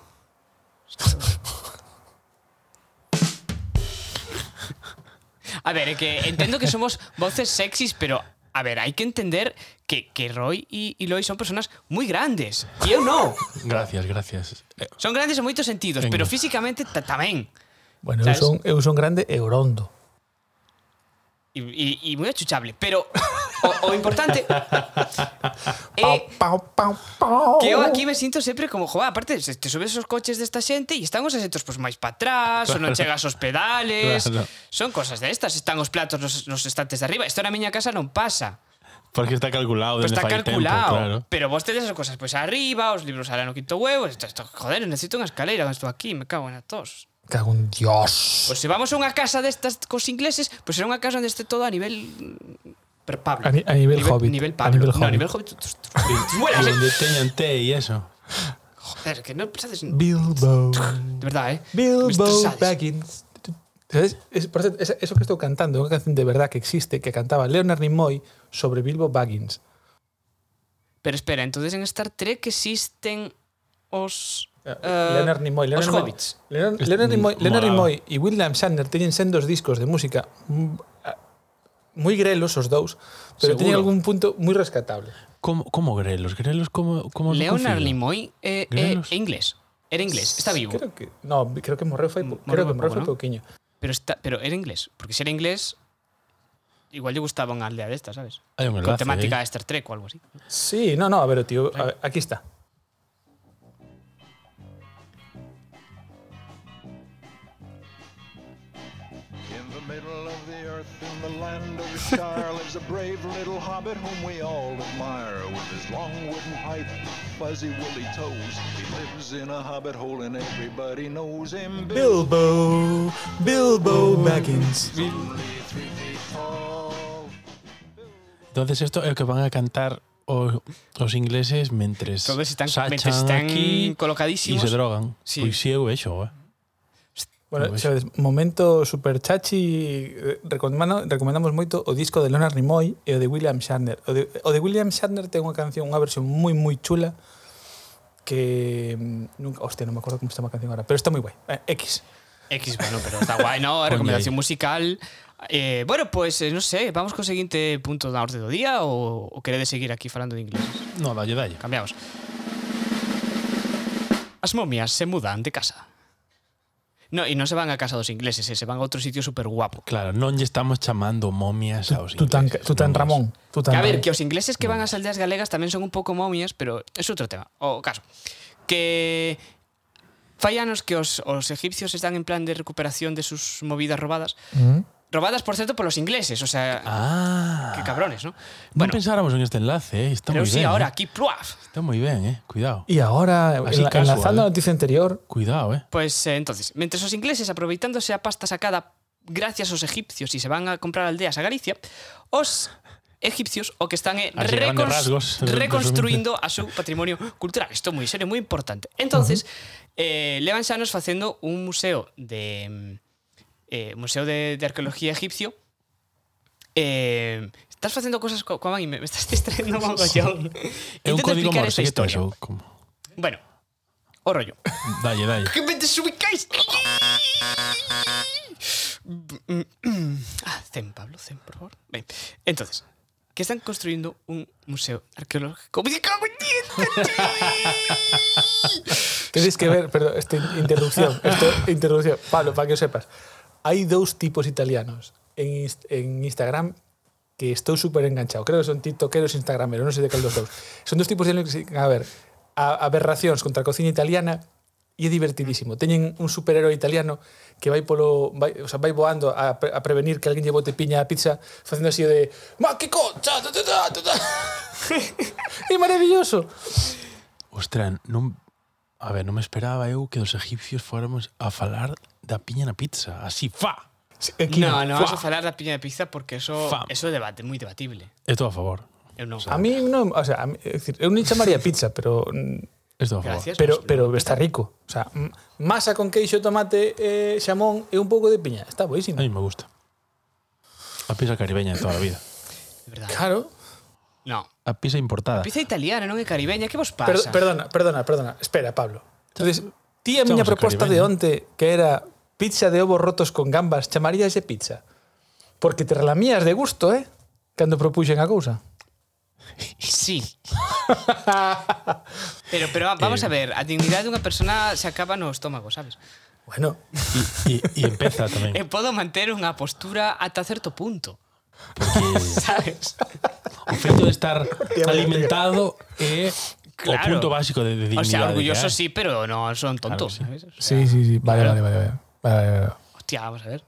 [SPEAKER 1] A ver, é que entiendo que somos voces sexys, pero a ver, hay que entender que, que Roy y, y Lois son personas muy grandes. Y yo no.
[SPEAKER 3] Gracias, gracias. Eh,
[SPEAKER 1] Son grandes en moitos sentidos,
[SPEAKER 3] Venga.
[SPEAKER 1] pero físicamente ta- tamén.
[SPEAKER 2] Bueno, eu
[SPEAKER 1] Sabes?
[SPEAKER 2] son, eu son grande e orondo.
[SPEAKER 1] Y, y- y muy achuchable. Pero o, o importante é
[SPEAKER 2] [laughs] Pau, pau, pau.
[SPEAKER 1] Eh. que eu aquí me sinto sempre como, joa, aparte, se te subes os coches desta xente e están os asentos pois máis para atrás, claro. ou non chegas os pedales.
[SPEAKER 3] Claro.
[SPEAKER 1] Son cosas destas, están os platos nos, nos estantes de arriba. Isto na miña casa non pasa.
[SPEAKER 3] Porque está calculado
[SPEAKER 1] Pues
[SPEAKER 3] dende
[SPEAKER 1] está
[SPEAKER 3] fai
[SPEAKER 1] calculado.
[SPEAKER 3] tempo, claro.
[SPEAKER 1] Pero vos tedes as cosas pois arriba, os libros alá no quinto huevo, isto, isto, joder, necesito unha escaleira cando estou aquí, me cago na tos.
[SPEAKER 2] Cago en Dios.
[SPEAKER 1] Pois se vamos a unha casa destas cos ingleses, pois será unha casa onde este todo a nivel mm, per Pablo.
[SPEAKER 2] A ni- a nivel Hobbit.
[SPEAKER 1] Nivel
[SPEAKER 2] A
[SPEAKER 1] Pablo.
[SPEAKER 2] nivel
[SPEAKER 1] No, a
[SPEAKER 2] Hobbit.
[SPEAKER 1] nivel Hobbit. tus- tus- tus- vuelas, eh.
[SPEAKER 3] E onde teñan té e eso.
[SPEAKER 1] Joder, que no pensades en-
[SPEAKER 2] Bilbo.
[SPEAKER 1] De verdad, eh. Me
[SPEAKER 2] Bilbo
[SPEAKER 1] estresades.
[SPEAKER 2] Baggins. ¿Sabes? Es, por cierto, esa- eso que estoy cantando es una canción de verdad que existe que cantaba Leonard Nimoy sobre Bilbo Baggins.
[SPEAKER 1] Pero espera, entonces en Star Trek existen os... eh,
[SPEAKER 2] Leonard Nimoy. Leonard
[SPEAKER 1] Os
[SPEAKER 2] Nimoy-
[SPEAKER 1] Hobbits.
[SPEAKER 2] Leonard,
[SPEAKER 3] Es-
[SPEAKER 2] Leonard Nimoy,
[SPEAKER 3] molaba.
[SPEAKER 2] Leonard Nimoy e William Shatner teñen sendos discos de música mm, ah, moi grelos os dous, pero
[SPEAKER 3] Seguro.
[SPEAKER 2] teñen algún punto moi rescatable.
[SPEAKER 3] Como como grelos, grelos como como
[SPEAKER 1] Leonard Nimoy é eh,
[SPEAKER 3] Grelos.
[SPEAKER 1] é inglés. Era inglés, está vivo.
[SPEAKER 2] Creo que no, creo que morreu foi
[SPEAKER 1] Morreu
[SPEAKER 2] creo que
[SPEAKER 1] moi pouco,
[SPEAKER 2] morreu foi
[SPEAKER 1] ¿no?
[SPEAKER 2] pouquiño.
[SPEAKER 1] Pero, está, pero era inglés. Porque si era inglés, igual lle gustaba unha aldea desta, sabes?
[SPEAKER 3] Hai un
[SPEAKER 1] Con
[SPEAKER 3] enlace
[SPEAKER 1] temática
[SPEAKER 3] aí.
[SPEAKER 1] de Star Trek ou algo así.
[SPEAKER 2] Sí, no, no, a ver, o tío, a ver, aquí está.
[SPEAKER 4] In the middle of the earth, in the land of Shire, lives a brave little hobbit whom we all admire. With his long wooden pipe, fuzzy woolly toes, he lives in a hobbit hole and everybody knows him.
[SPEAKER 2] Bilbo, Bilbo Baggins.
[SPEAKER 4] Only three feet tall.
[SPEAKER 3] Entonces esto é o que van a cantar os, os ingleses mentres
[SPEAKER 1] Todos están,
[SPEAKER 3] se
[SPEAKER 1] mentre
[SPEAKER 3] achan
[SPEAKER 1] están
[SPEAKER 3] aquí e
[SPEAKER 1] colocadísimos.
[SPEAKER 3] se drogan.
[SPEAKER 1] Sí.
[SPEAKER 3] Pois si eu vexo, eh.
[SPEAKER 2] Bueno,
[SPEAKER 3] Pois.
[SPEAKER 2] sabes, momento super chachi, eh, recomendano- recomendamos moito o disco de Leonard Nimoy e o de William Shatner. O de, o de William Shatner ten unha canción, unha versión moi moi chula que mm, nunca, hostia, non me acordo como se chama a canción ahora, pero está moi guai. Eh, X.
[SPEAKER 1] X, bueno, pero está guai, ¿no? Recomendación musical. Eh, bueno, pues, eh, no sé, vamos co seguinte punto da orde do día ou, ou queredes seguir aquí falando de inglés?
[SPEAKER 3] No, dalle, dalle.
[SPEAKER 1] Cambiamos. As momias se mudan de casa. No, e non se van a casa dos ingleses, eh, se van a outro sitio super guapo.
[SPEAKER 3] Claro, non lle estamos chamando momias aos ingleses.
[SPEAKER 2] Tutan,
[SPEAKER 3] non,
[SPEAKER 2] Ramón.
[SPEAKER 1] Que, a ver, que os ingleses que van ás aldeas galegas tamén son un pouco momias, pero é outro tema. O caso, que fai anos que os, os egipcios están en plan de recuperación de sus movidas robadas. Robadas, por certo, polos ingleses, o sea,
[SPEAKER 3] Mm. Ah.
[SPEAKER 1] que cabrones, ¿no?
[SPEAKER 3] Non
[SPEAKER 1] Bueno,
[SPEAKER 3] pensáramos en este enlace, eh. Está
[SPEAKER 1] pero
[SPEAKER 3] moi
[SPEAKER 1] sí,
[SPEAKER 3] ben.
[SPEAKER 1] ahora
[SPEAKER 3] eh.
[SPEAKER 1] aquí, ¡pluaf!
[SPEAKER 3] Está moi ben, eh. Cuidado.
[SPEAKER 2] E agora,
[SPEAKER 3] Así
[SPEAKER 2] enla-
[SPEAKER 3] casual,
[SPEAKER 2] enlazando a
[SPEAKER 3] eh.
[SPEAKER 2] noticia anterior,
[SPEAKER 3] Cuidado, eh.
[SPEAKER 1] Pues eh, entonces, mientras los ingleses aproveitándose a pasta sacada gracias aos egipcios e se van a comprar aldeas a Galicia, os egipcios o que están eh,
[SPEAKER 3] Así, a grandes rasgos, [laughs]
[SPEAKER 1] reconstruindo a súa patrimonio cultural. Isto é moi serio, moi importante. Entonces, eh, levan xa nos facendo un museo de mm, eh, museo de, de arqueología egipcio Eh, estás facendo cosas co, coa man e me, me estás [laughs] distraendo un mogollón.
[SPEAKER 3] É un
[SPEAKER 1] Intento
[SPEAKER 3] código
[SPEAKER 1] explicar
[SPEAKER 3] morse
[SPEAKER 1] esta
[SPEAKER 3] que estás
[SPEAKER 1] historia.
[SPEAKER 3] ou como.
[SPEAKER 1] Bueno, o rollo.
[SPEAKER 3] Dalle, dalle.
[SPEAKER 1] ¡Que me desubicáis! Ah, zen, Pablo, zen, por favor. Ben, Entonces, que están construyendo un museo arqueológico. ¡Me cago en dientes!
[SPEAKER 2] Tedes que ver, perdón, esta in- interrupción, esta interrupción. Pablo, para que o sepas. Hai dous tipos italianos en, ins- en Instagram que estou super enganchado. Creo que son tiktokeros e instagrameros, non sei de cal dos dous. Son dos tipos italianos que, se- a ver, a, aberracións contra a cociña italiana e é divertidísimo. Teñen un superhéroe italiano que vai polo vai, o sea, vai voando a, pre- a prevenir que alguén lle bote piña á pizza facendo así o de "Ma que concha!" ta, ta, ta, ta, ta". [laughs] É maravilloso.
[SPEAKER 3] Ostras, non A ver, non me esperaba eu que os egipcios fóramos a falar da piña na pizza, así, fa.
[SPEAKER 2] Sí, aquí
[SPEAKER 1] No, no vamos
[SPEAKER 3] Fua.
[SPEAKER 1] a falar da piña de pizza porque eso,
[SPEAKER 3] Fam.
[SPEAKER 1] eso é debate, moi debatible. Eh,
[SPEAKER 3] Estou a favor.
[SPEAKER 1] Eu non.
[SPEAKER 2] A mí no, o sea, a mí, es decir, eu ni chamaría pizza, pero
[SPEAKER 3] Estou a favor.
[SPEAKER 1] Gracias.
[SPEAKER 2] pero
[SPEAKER 1] mas-
[SPEAKER 2] pero está rico. O sea, m- masa con queixo, tomate, eh, xamón e un pouco de piña.
[SPEAKER 3] A
[SPEAKER 2] Está boísimo.
[SPEAKER 3] mí me gusta. A pizza caribeña de toda a vida.
[SPEAKER 1] de verdad.
[SPEAKER 2] Claro.
[SPEAKER 1] No.
[SPEAKER 3] A pizza importada.
[SPEAKER 1] Pizza italiana, non é caribeña, que vos
[SPEAKER 2] Per,
[SPEAKER 1] pasa?
[SPEAKER 2] perdona, perdona, perdona. Espera, Pablo. Entonces, ti a miña
[SPEAKER 3] Estamos en
[SPEAKER 2] proposta de
[SPEAKER 3] Caribeño.
[SPEAKER 2] onte que era pizza de ovos rotos con gambas, chamarías de pizza? Porque te relamías de gusto, eh? Cando propuxen a cousa.
[SPEAKER 1] Sí. pero, pero vamos a ver, a dignidade dunha persona se acaba no estómago, sabes? Eh,
[SPEAKER 2] Bueno,
[SPEAKER 3] Y, y- y empeza tamén.
[SPEAKER 1] [laughs] E podo manter unha postura ata certo punto.
[SPEAKER 3] Porque
[SPEAKER 1] ¿Sabes?
[SPEAKER 3] o feito de estar alimentado é o
[SPEAKER 1] Claro.
[SPEAKER 3] punto básico de, de
[SPEAKER 1] O
[SPEAKER 3] dignidade.
[SPEAKER 1] sea, orgulloso
[SPEAKER 3] que ah, hai.
[SPEAKER 1] sí, pero no son tontos.
[SPEAKER 3] Claro
[SPEAKER 1] ¿sabes? O sea,
[SPEAKER 2] sí, sí, sí. Vale, vale, vale, vale. Vale, vale, Ah, vale.
[SPEAKER 1] Hostia, vamos a ver.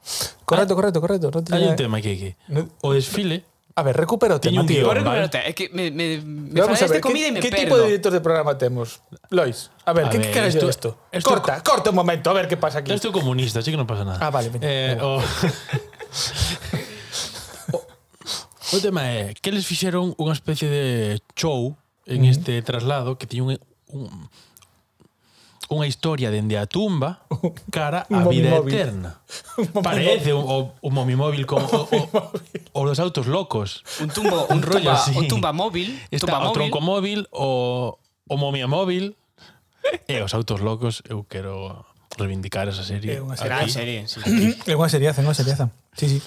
[SPEAKER 2] Correcto, correcto, correcto. No
[SPEAKER 3] Hai
[SPEAKER 2] tiña-
[SPEAKER 3] un tema aquí, aquí.
[SPEAKER 2] No-
[SPEAKER 3] O desfile,
[SPEAKER 2] A ver, recupero o
[SPEAKER 3] Tiña
[SPEAKER 2] tema,
[SPEAKER 3] un
[SPEAKER 2] tío.
[SPEAKER 3] guión.
[SPEAKER 1] Corre con
[SPEAKER 3] vale.
[SPEAKER 1] pelota, Es que me, me, me
[SPEAKER 2] Vamos a
[SPEAKER 1] faláis de
[SPEAKER 2] ver,
[SPEAKER 1] comida y me
[SPEAKER 2] ¿qué, ¿qué tipo
[SPEAKER 1] perdo.
[SPEAKER 2] de editor de programa tenemos? Lois, a ver,
[SPEAKER 3] A
[SPEAKER 2] ¿qué,
[SPEAKER 3] ver,
[SPEAKER 2] qué esto,
[SPEAKER 3] esto-
[SPEAKER 2] esto?
[SPEAKER 3] esto-
[SPEAKER 2] corta, corta un momento, a ver qué pasa aquí.
[SPEAKER 3] Esto é comunista, así que non pasa nada.
[SPEAKER 2] Ah, vale, veña,
[SPEAKER 3] Eh, o... [laughs] o... o tema é que eles fixeron unha especie de show en este traslado que tiña un, un unha historia dende a tumba cara
[SPEAKER 2] [laughs] Un
[SPEAKER 3] a vida
[SPEAKER 2] momimóvil. [laughs]
[SPEAKER 3] eterna.
[SPEAKER 2] momimóvil.
[SPEAKER 3] Parece un, o, un momimóvil
[SPEAKER 2] [laughs]
[SPEAKER 3] como o, o, o los autos locos.
[SPEAKER 1] Un tumbo, un,
[SPEAKER 3] [laughs] Un rollo
[SPEAKER 1] tumba,
[SPEAKER 3] así.
[SPEAKER 1] un tumba móvil.
[SPEAKER 3] Está
[SPEAKER 1] tumba
[SPEAKER 3] o
[SPEAKER 1] móvil.
[SPEAKER 3] tronco móvil, o, o momia móvil e os autos locos. Eu quero reivindicar esa serie.
[SPEAKER 2] É unha
[SPEAKER 1] Gran
[SPEAKER 3] aquí.
[SPEAKER 1] serie, sí.
[SPEAKER 2] Es una seriaza, é unha seriaza. Sí, sí.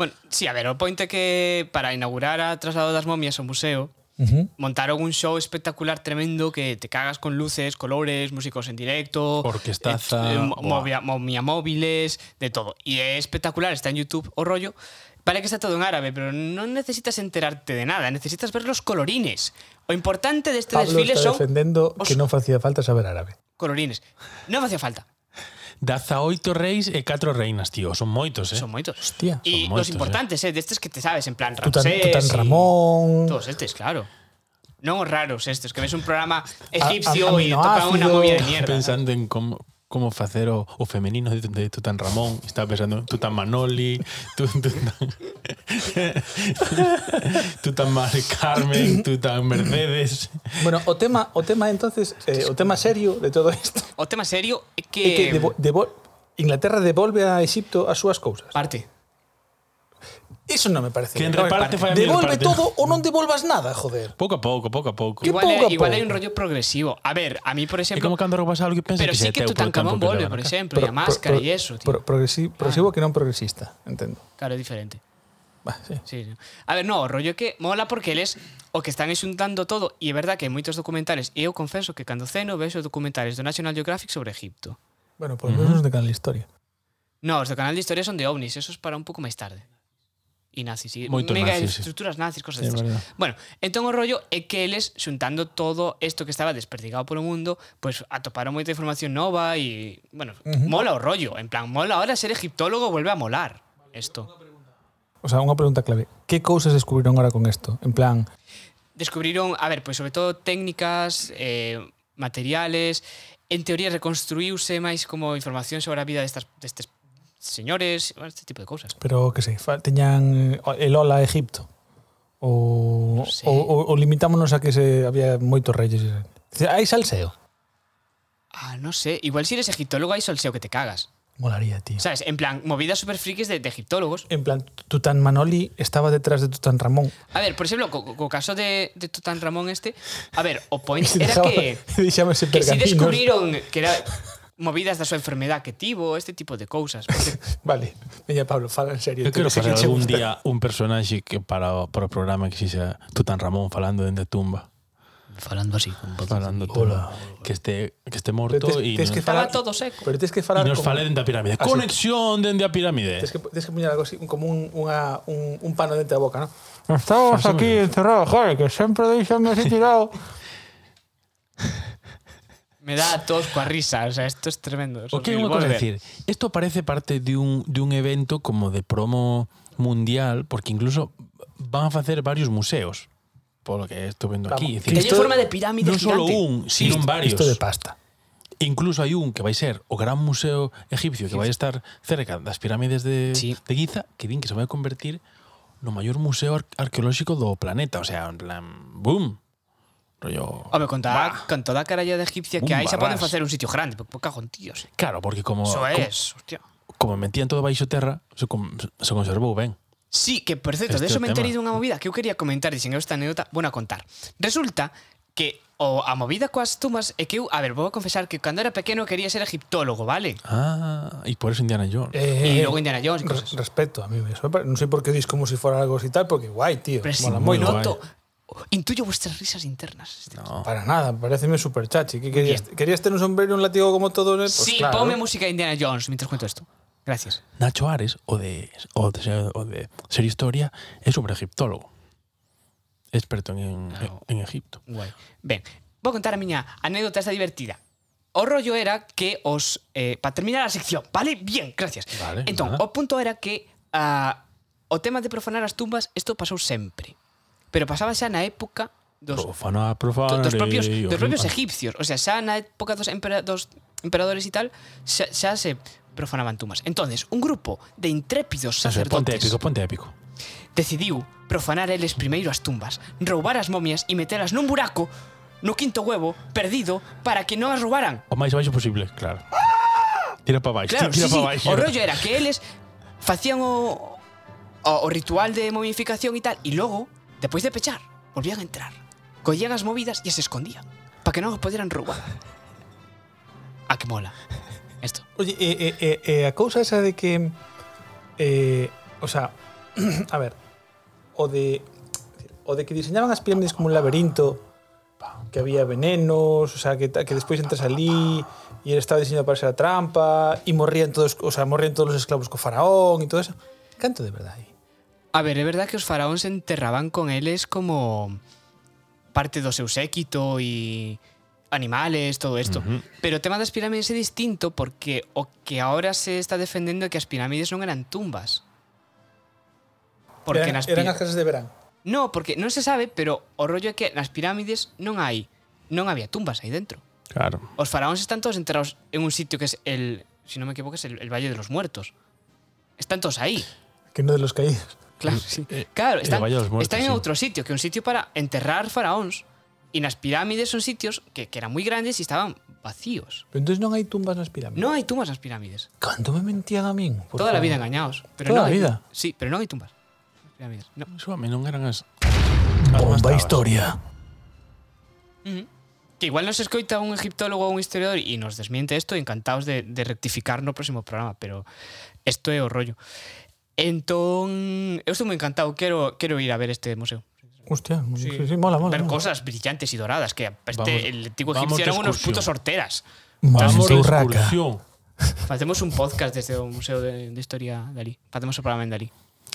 [SPEAKER 1] Bueno, sí, a ver, o pointe que para inaugurar a traslado das momias ao museo
[SPEAKER 2] Ujú.
[SPEAKER 1] montaron un show espectacular, tremendo, que te cagas con luces, colores, músicos en directo,
[SPEAKER 3] Orquestaza,
[SPEAKER 1] eh, eh, mo- movia-
[SPEAKER 3] buah.
[SPEAKER 1] momia móviles, de todo. Y es espectacular, está en YouTube o rollo. Vale que está todo en árabe, pero no necesitas enterarte de nada, necesitas ver los colorines. Lo importante de este
[SPEAKER 2] Pablo
[SPEAKER 1] desfile son
[SPEAKER 2] está defendendo
[SPEAKER 1] os-
[SPEAKER 2] que non facía falta saber árabe.
[SPEAKER 1] colorines. No me hacía falta,
[SPEAKER 3] Daza oito reis e catro reinas, tío. Son moitos, eh?
[SPEAKER 1] son moitos.
[SPEAKER 2] Hostia.
[SPEAKER 1] y
[SPEAKER 3] son
[SPEAKER 1] los
[SPEAKER 3] moitos,
[SPEAKER 1] importantes, eh, de estes que te sabes, en plan
[SPEAKER 2] Tutan,
[SPEAKER 1] Ramsés
[SPEAKER 2] Tutan
[SPEAKER 1] y-
[SPEAKER 2] Ramón,
[SPEAKER 1] Todos estes, claro. No os raros estos, que ves un programa
[SPEAKER 2] a-
[SPEAKER 1] egipcio y toca
[SPEAKER 2] aminoácido.
[SPEAKER 1] una movida de
[SPEAKER 2] Estaba
[SPEAKER 1] mierda. eh.
[SPEAKER 3] pensando en como como facer o, o femenino de, de Tutanramón estaba pensando en Tutanmanoli Tut- Tutan- [laughs] Tutanmar Carmen Tutan Mercedes
[SPEAKER 2] Bueno, o tema, o tema entonces, eh, o tema serio de todo isto
[SPEAKER 1] O tema serio é que...
[SPEAKER 2] é que devo, devo, Inglaterra devolve a Egipto as súas cousas.
[SPEAKER 1] Parte.
[SPEAKER 2] Eso non me parece.
[SPEAKER 3] Quen
[SPEAKER 2] bien. Non me
[SPEAKER 3] reparte
[SPEAKER 2] parece.
[SPEAKER 3] fai a mí
[SPEAKER 2] Devolve
[SPEAKER 3] reparte.
[SPEAKER 2] todo ou non devolvas nada, joder.
[SPEAKER 3] pouco a pouco pouco a pouco
[SPEAKER 2] Que
[SPEAKER 1] Igual,
[SPEAKER 2] pouco
[SPEAKER 1] é-
[SPEAKER 2] a
[SPEAKER 1] igual hai un
[SPEAKER 2] pouco.
[SPEAKER 1] rollo progresivo. A ver, a mí, por
[SPEAKER 3] é
[SPEAKER 1] exemplo...
[SPEAKER 3] como cando roubas algo que pensas
[SPEAKER 1] Pero
[SPEAKER 3] que
[SPEAKER 1] sí
[SPEAKER 3] se
[SPEAKER 1] que
[SPEAKER 3] teu polo
[SPEAKER 1] Tutankamón
[SPEAKER 3] tempo que
[SPEAKER 1] volve,
[SPEAKER 3] levan
[SPEAKER 1] por
[SPEAKER 3] a ca-
[SPEAKER 1] exemplo, e a máscara e eso, tío. Ah.
[SPEAKER 2] Pro, progresi- progresivo que non progresista, entendo.
[SPEAKER 1] Claro, é diferente.
[SPEAKER 2] Bah, sí.
[SPEAKER 1] Sí, sí. A ver, no, o rollo é que mola porque eles o que están exuntando todo e é verdad que hai moitos documentales e eu confeso que cando ceno vexo documentales do National Geographic sobre Egipto.
[SPEAKER 2] Bueno, pois pues, uh -huh. de canal historia.
[SPEAKER 1] No, os do canal de historia son de ovnis, esos para un pouco máis tarde. E nazis, e
[SPEAKER 3] Moitos
[SPEAKER 1] mega
[SPEAKER 3] nazis, sí.
[SPEAKER 1] estruturas nazis, cosas
[SPEAKER 2] É
[SPEAKER 1] destas.
[SPEAKER 2] verdad.
[SPEAKER 1] Bueno, entón o rollo é que eles, xuntando todo isto que estaba desperdigado polo mundo, pois pues, atoparon moita información nova e, bueno, uh -huh. mola o rollo. En plan, mola ahora ser egiptólogo, vuelve a molar isto.
[SPEAKER 2] O sea, unha pregunta clave. Que cousas descubriron ahora con isto? En plan,
[SPEAKER 1] Descubriron, a ver, pois sobre todo técnicas, eh, materiales, en teoría reconstruíuse máis como información sobre a vida destas, destes señores, bueno, este tipo de cousas.
[SPEAKER 2] pero que sei, fa- teñan eh, el ola a Egipto. O,
[SPEAKER 1] Non sei.
[SPEAKER 2] o, o, o limitámonos a que se había moitos reyes. e se- Dice, Hai salseo.
[SPEAKER 1] Ah, non sei, igual si eres egiptólogo hai solseo que te cagas.
[SPEAKER 2] Molaría, tío.
[SPEAKER 1] Sabes, en plan, movidas super frikis de, de egiptólogos.
[SPEAKER 2] En plan, Tutanmanoli estaba detrás de Tutanramón.
[SPEAKER 1] A ver, por exemplo, co, co- co caso de, de Tutanramón este, a ver, o
[SPEAKER 3] [laughs]
[SPEAKER 2] [laughs]
[SPEAKER 1] point
[SPEAKER 2] Se
[SPEAKER 1] era
[SPEAKER 2] dejaba-
[SPEAKER 1] que,
[SPEAKER 2] deixábase
[SPEAKER 1] que si
[SPEAKER 2] pergaminos.
[SPEAKER 1] descubriron que era movidas da súa enfermedad que tivo, este tipo de cousas. porque
[SPEAKER 2] Vale, veña Pablo, fala en
[SPEAKER 3] Eu
[SPEAKER 2] serio. tío,
[SPEAKER 3] quero
[SPEAKER 2] sei
[SPEAKER 3] facer
[SPEAKER 2] que che
[SPEAKER 3] algún
[SPEAKER 2] gusta.
[SPEAKER 3] día un personaxe que para, o- para o programa que sexa Tutanramón falando dende a tumba
[SPEAKER 1] Falando así, con voz.
[SPEAKER 3] [laughs] falando Hola. que este que este morto
[SPEAKER 2] Pero tes-
[SPEAKER 3] e
[SPEAKER 2] tes que
[SPEAKER 3] nos,
[SPEAKER 1] Estaba
[SPEAKER 2] falar-
[SPEAKER 1] todo seco.
[SPEAKER 2] Pero tens que
[SPEAKER 3] e
[SPEAKER 2] falar
[SPEAKER 3] nos
[SPEAKER 2] como-
[SPEAKER 3] fale dende a pirámide
[SPEAKER 2] Así.
[SPEAKER 3] conexión dende a pirámide
[SPEAKER 2] Tens que, tens que poñer algo así, un- como un, unha, un, un pano dentro da boca, non? Estamos
[SPEAKER 3] Fácil, aquí
[SPEAKER 2] encerrados, joder, que sempre deixanme así tirado.
[SPEAKER 1] Me da a todos coa risa, o sea, esto es tremendo.
[SPEAKER 3] O que é
[SPEAKER 1] Will
[SPEAKER 3] unha cosa
[SPEAKER 1] Boulder.
[SPEAKER 3] decir, isto parece parte de un, de un evento como de promo mundial, porque incluso van a facer varios museos, polo que estou vendo aquí.
[SPEAKER 1] Que
[SPEAKER 3] é
[SPEAKER 2] Vamos,
[SPEAKER 3] dicir,
[SPEAKER 1] teñen
[SPEAKER 2] Isto-
[SPEAKER 1] forma de pirámide
[SPEAKER 3] non solo
[SPEAKER 1] gigante.
[SPEAKER 3] un, sino varios.
[SPEAKER 2] Isto de pasta.
[SPEAKER 3] Incluso hai un que vai ser o Gran Museo Egipcio que vai estar cerca das pirámides de,
[SPEAKER 1] Sí.
[SPEAKER 3] de Giza, que din que se vai convertir no maior museo ar arqueolóxico do planeta. O sea, en plan, boom. Rollo...
[SPEAKER 1] Home, con toda, con toda a caralla de egipcia que hai,
[SPEAKER 3] Un
[SPEAKER 1] se poden
[SPEAKER 3] barrás.
[SPEAKER 1] facer un sitio grande, po, po cajón, tíos.
[SPEAKER 3] Claro, porque como,
[SPEAKER 1] Eso
[SPEAKER 3] como,
[SPEAKER 1] es, hostia.
[SPEAKER 3] como metían todo baixo terra, se, con- se conservou ben.
[SPEAKER 1] Sí, que por certo,
[SPEAKER 3] Este
[SPEAKER 1] de
[SPEAKER 3] é
[SPEAKER 1] eso
[SPEAKER 3] o
[SPEAKER 1] me
[SPEAKER 3] tema.
[SPEAKER 1] enterei dunha movida que eu quería comentar, dixen eu esta anécdota, bueno, a contar. Resulta que o a movida coas tumbas é que eu, a ver, vou confesar que cando era pequeno quería ser egiptólogo, vale?
[SPEAKER 3] Ah, Eh. e por eso Indiana Jones.
[SPEAKER 1] E
[SPEAKER 2] Eh,
[SPEAKER 1] logo Indiana Jones e cosas.
[SPEAKER 2] Res, respeto a mí, eso, non sei por que dis como se si fora algo así tal, porque guai, tío.
[SPEAKER 1] Pero si
[SPEAKER 2] mola
[SPEAKER 3] moi
[SPEAKER 2] moito.
[SPEAKER 3] guai.
[SPEAKER 1] noto, intuyo vuestras risas internas.
[SPEAKER 3] No.
[SPEAKER 2] Para nada, pareceme super chachi. Que querías, querías ter un sombrero e un látigo como todo, né? Pues
[SPEAKER 1] sí,
[SPEAKER 2] claro.
[SPEAKER 1] ponme música de Indiana Jones mientras cuento esto. Gracias.
[SPEAKER 3] Nacho Ares, o de, o, de, o de ser historia, é sobre egiptólogo. Experto en,
[SPEAKER 1] Claro.
[SPEAKER 3] en Egipto.
[SPEAKER 1] Guai. Ben, vou contar a miña anécdota esta divertida. O rollo era que os... Eh, para terminar a sección, vale? Bien, gracias.
[SPEAKER 3] Vale,
[SPEAKER 1] entón,
[SPEAKER 3] nada.
[SPEAKER 1] o punto era que ah, o tema de profanar as tumbas, isto pasou sempre. Pero pasaba xa na época dos,
[SPEAKER 3] Profano
[SPEAKER 1] do-
[SPEAKER 3] a profano.
[SPEAKER 1] dos propios, dos propios egipcios. O sea, xa na época dos, empera, dos emperadores e tal, xa, xa se profanaban tumbas. Entonces, un grupo de intrépidos
[SPEAKER 3] Ponte
[SPEAKER 1] sacerdotes
[SPEAKER 3] épico, ponte épico.
[SPEAKER 1] decidiu profanar eles primeiro as tumbas, roubar as momias e metelas nun buraco no quinto huevo perdido para que non as roubaran.
[SPEAKER 3] O máis baixo posible, claro. Tira para baixo,
[SPEAKER 1] Ah! Claro, sí,
[SPEAKER 3] tira
[SPEAKER 1] sí,
[SPEAKER 3] para baixo.
[SPEAKER 1] o rollo era que eles facían o, o, o ritual de momificación e tal, e logo, depois de pechar, volvían a entrar. Collían as movidas e se escondían, para que non os poderan roubar. A que mola. Esto.
[SPEAKER 2] Oye, e, e, e, e a cousa esa de que [clears throat] eh, o sea, a ver, o de o de que diseñaban as pirámides como un laberinto que había venenos, o sea, que, ta- que despois entras ali e ele estaba diseñado para ser a trampa e morrían todos, o sea, morrían todos os esclavos co faraón e todo eso. Canto de verdade.
[SPEAKER 1] A ver, é verdad que os faraóns se enterraban con eles como parte do seu séquito e animales, todo isto. Uh -huh. Pero o tema das pirámides é distinto porque o que ahora se está defendendo é que as pirámides non eran tumbas. Porque
[SPEAKER 2] eran,
[SPEAKER 1] nas pi-
[SPEAKER 2] eran as casas de verán.
[SPEAKER 1] No, porque non se sabe, pero o rollo é que nas pirámides non hai non había tumbas aí dentro.
[SPEAKER 3] Claro.
[SPEAKER 1] Os faraóns están todos enterrados en un sitio que es el, si non me equivoco, es el, el Valle de los Muertos. Están todos aí.
[SPEAKER 2] Que no de los caídos.
[SPEAKER 1] Claro, sí.
[SPEAKER 3] eh,
[SPEAKER 1] claro
[SPEAKER 3] eh,
[SPEAKER 1] están,
[SPEAKER 3] Valle de los Muertos,
[SPEAKER 1] están en
[SPEAKER 3] sí.
[SPEAKER 1] outro sitio, que é un sitio para enterrar faraóns. E nas pirámides son sitios que, que eran moi grandes e estaban vacíos.
[SPEAKER 2] Pero entonces non hai tumbas nas pirámides.
[SPEAKER 1] Non hai tumbas nas pirámides.
[SPEAKER 2] Canto me mentían a min. por
[SPEAKER 1] Toda a
[SPEAKER 2] favor.
[SPEAKER 1] vida engañados. Pero non
[SPEAKER 2] Toda a
[SPEAKER 1] hai-
[SPEAKER 2] vida?
[SPEAKER 1] Sí, pero non hai tumbas. Nas pirámides. No.
[SPEAKER 3] Súbame, non eran as...
[SPEAKER 2] Bomba
[SPEAKER 3] tabas.
[SPEAKER 2] historia.
[SPEAKER 1] Ujú. Que igual nos escoita un egiptólogo ou un historiador e nos desmiente isto, encantados de, de rectificar no próximo programa, pero isto é o rollo. Entón, eu estou moi encantado, quero, quero ir a ver este museo.
[SPEAKER 2] Hostia, sí. Sí, sí, mola, mola.
[SPEAKER 1] ver
[SPEAKER 2] mola.
[SPEAKER 1] cosas brillantes y doradas, que aparte
[SPEAKER 3] Vamos-
[SPEAKER 1] el antiguo
[SPEAKER 3] vamos
[SPEAKER 1] egipcio
[SPEAKER 3] de
[SPEAKER 1] eran unos
[SPEAKER 3] excursión.
[SPEAKER 1] putos horteras.
[SPEAKER 2] Vamos
[SPEAKER 3] Vamos de
[SPEAKER 2] de urraca.
[SPEAKER 3] excursión.
[SPEAKER 1] Facemos un podcast desde o Museo de, de Historia de Alí. Facemos o programa en Dalí.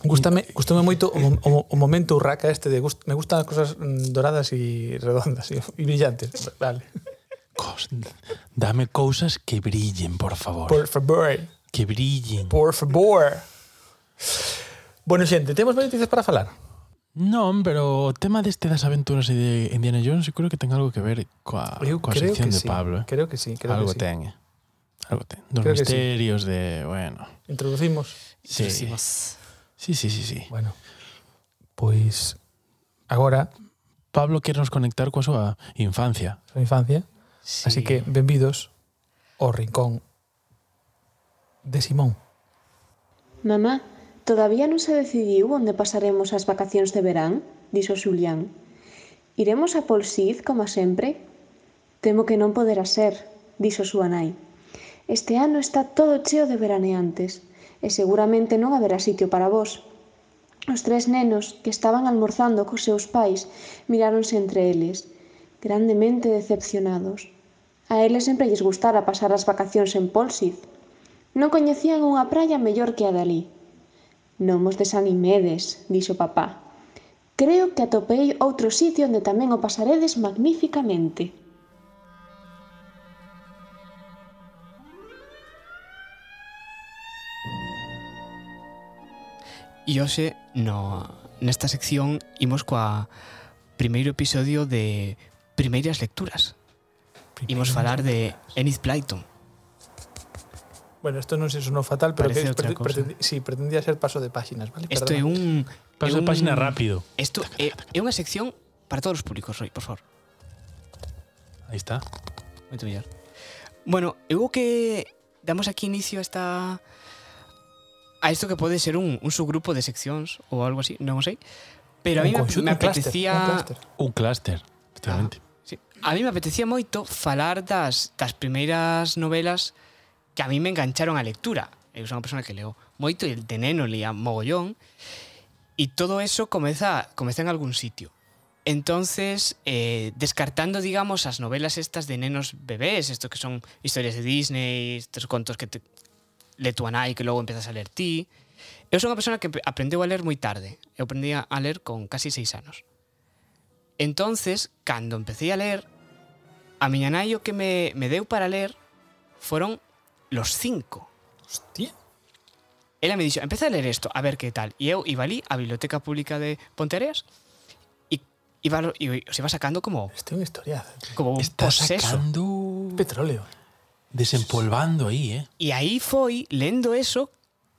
[SPEAKER 2] Gústame, gústame moito o, mo- o, mo- o momento urraca este de gust, me gustan as cousas mm, doradas e redondas e, e brillantes. Vale.
[SPEAKER 3] Cos- Dame cousas que brillen, por favor.
[SPEAKER 2] Por favor,
[SPEAKER 3] Que brillen.
[SPEAKER 2] por favor. Bueno, xente, temos máis noticias para falar.
[SPEAKER 3] Non, pero o tema deste das aventuras e de Indiana Jones eu creo que ten algo que ver coa, coa sección de
[SPEAKER 2] sí.
[SPEAKER 3] Pablo. Eh?
[SPEAKER 2] Creo que sí, creo
[SPEAKER 3] algo
[SPEAKER 2] que sí.
[SPEAKER 3] ten, eh. Algo ten. Dos
[SPEAKER 2] Creo que sí.
[SPEAKER 3] misterios de... Bueno.
[SPEAKER 2] Introducimos.
[SPEAKER 3] Sí, sí,
[SPEAKER 1] Muchísimas.
[SPEAKER 3] sí, sí, sí.
[SPEAKER 2] Bueno. Pois agora,
[SPEAKER 3] Pablo quer nos conectar coa súa infancia.
[SPEAKER 2] a infancia,
[SPEAKER 1] Sí.
[SPEAKER 2] así que benvidos ao rincón de Simón.
[SPEAKER 5] Mamá, todavía non se decidiu onde pasaremos as vacacións de verán, dixo Xulián. Iremos a Polsiz, como sempre? Temo que non poderá ser, dixo súa nai. Este ano está todo cheo de veraneantes, e seguramente non haberá sitio para vos. Os tres nenos, que estaban almorzando cos seus pais, miráronse entre eles, grandemente decepcionados. A eles sempre lles gustara pasar as vacacións en Polsiz, Non coñecían unha praia mellor que a dali. Non mos desanimedes, dixo papá. Creo que atopei outro sitio onde tamén o pasaredes magníficamente.
[SPEAKER 1] E hoxe, no, nesta sección, imos coa primeiro episodio de Primeiras Lecturas. Imos falar de Enid Blyton.
[SPEAKER 2] Bueno, esto non se sonou fatal, pero
[SPEAKER 1] Parece
[SPEAKER 2] que
[SPEAKER 1] outra
[SPEAKER 2] prete-
[SPEAKER 1] cosa.
[SPEAKER 2] pretendi- sí, pretendía ser paso de páginas, vale?
[SPEAKER 1] Isto é
[SPEAKER 2] Perdona.
[SPEAKER 1] un... é
[SPEAKER 3] Paso de
[SPEAKER 1] un-
[SPEAKER 3] página rápido.
[SPEAKER 1] Isto é, é unha sección para todos os públicos, hoy, por favor.
[SPEAKER 3] Aí está.
[SPEAKER 1] Moito mellor. Bueno, eu o que damos aquí inicio a esta a isto que pode ser un, un subgrupo de seccións ou algo así, non o sei. Pero a mí
[SPEAKER 2] Un
[SPEAKER 1] me,
[SPEAKER 2] conxunto,
[SPEAKER 1] me
[SPEAKER 2] un clúster, un
[SPEAKER 1] apetecía
[SPEAKER 2] clúster.
[SPEAKER 3] Un clúster, efectivamente.
[SPEAKER 2] Ah,
[SPEAKER 1] sí, a mí me apetecía moito falar das das primeiras novelas que a mí me engancharon a lectura. Eu sou unha persona que leo moito e de neno lía mogollón e todo eso comeza comeza en algún sitio. Entonces, eh, descartando, digamos, as novelas estas de nenos bebés, esto que son historias de Disney, estos contos que te le tú a nai que logo empezas a ler ti. Eu sou unha persona que ap- aprendeu a ler moi tarde. Eu aprendí a ler con casi seis anos. Entonces, cando empecé a ler, a miña nai o que me, me deu para ler foron los cinco.
[SPEAKER 2] Hostia.
[SPEAKER 1] Ela me dixo, empeza a ler isto, a ver que tal. E eu iba ali á Biblioteca Pública de Ponteareas e iba, lo- e os iba sacando como,
[SPEAKER 2] Este é unha historia.
[SPEAKER 1] como un
[SPEAKER 3] Está
[SPEAKER 1] poseso.
[SPEAKER 3] sacando...
[SPEAKER 2] Petróleo.
[SPEAKER 3] Desempolvando aí, eh.
[SPEAKER 1] E aí foi, lendo eso,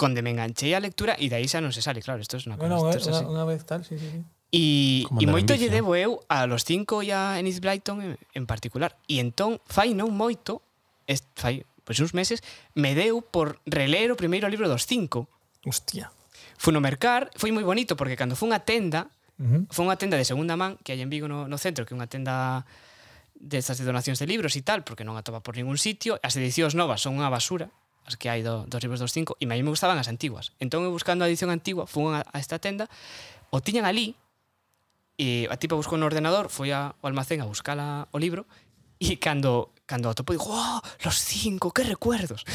[SPEAKER 1] onde me enganchei a lectura e de aí xa non se sale, claro, isto é unha
[SPEAKER 2] Bueno,
[SPEAKER 1] cosa.
[SPEAKER 2] unha,
[SPEAKER 1] isto é
[SPEAKER 2] unha,
[SPEAKER 1] así.
[SPEAKER 2] unha vez tal, sí, sí, sí.
[SPEAKER 1] E,
[SPEAKER 3] Como
[SPEAKER 1] e
[SPEAKER 3] andar en
[SPEAKER 1] moito lle
[SPEAKER 3] bici,
[SPEAKER 1] debo eu a los cinco e a Enid Blyton en, en particular. E entón, fai non moito, est, fai pois uns meses, me deu por reler o primeiro libro dos cinco.
[SPEAKER 2] Hostia.
[SPEAKER 1] Fui no mercar, foi moi bonito, porque cando fui unha tenda,
[SPEAKER 2] Uh -huh.
[SPEAKER 1] foi unha tenda de segunda man que hai en Vigo no, no centro, que é unha tenda destas de donacións de libros e tal, porque non atopa por ningún sitio, as edicións novas son unha basura, as que hai do, dos libros dos cinco, e a mí me gustaban as antiguas. Entón, eu buscando a edición antigua, fui a, a esta tenda, o tiñan ali, E a tipa buscou no ordenador, foi a, ao almacén a buscala o libro, e cando, cando a topou, dixo, oh, los cinco, que recuerdos.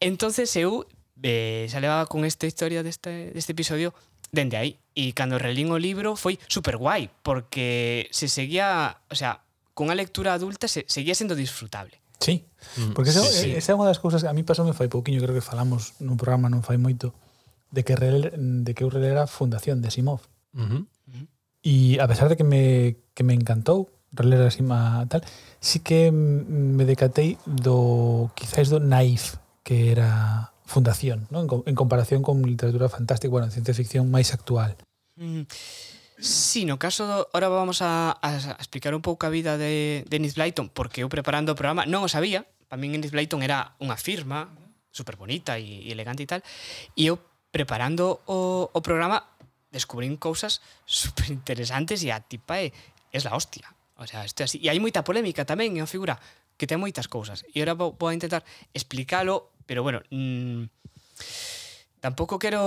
[SPEAKER 1] entonces eu eh, xa levaba con esta historia deste, deste episodio dende aí. E cando relín o libro foi super guai, porque se seguía, o sea, con a lectura adulta se, seguía sendo disfrutable.
[SPEAKER 2] Sí,
[SPEAKER 3] Mm,
[SPEAKER 2] porque esa,
[SPEAKER 3] sí, sí.
[SPEAKER 2] esa é unha das cousas que a mí pasoume fai pouquiño, creo que falamos nun programa non fai moito, de que rel, de que eu relera Fundación de Simov.
[SPEAKER 3] Ujú.
[SPEAKER 2] E a pesar de que me, que me encantou reler así ma tal, sí que mm, me decatei do quizáis do naif que era fundación, ¿no? en, co- en comparación con literatura fantástica, bueno, ciencia ficción máis actual.
[SPEAKER 1] Mm. Sí, no caso do, ahora vamos a, a explicar un pouco a vida de Dennis Blyton, porque eu preparando o programa non o sabía, para min Dennis Blyton era unha firma super bonita e, e elegante e tal, e eu preparando o, o programa descubrín cousas [laughs] super interesantes e a tipa é, é la hostia. O sea, isto é así. E hai moita polémica tamén, é unha figura que ten moitas cousas. E ahora vou, vou a intentar explicalo, pero bueno, mm, tampouco quero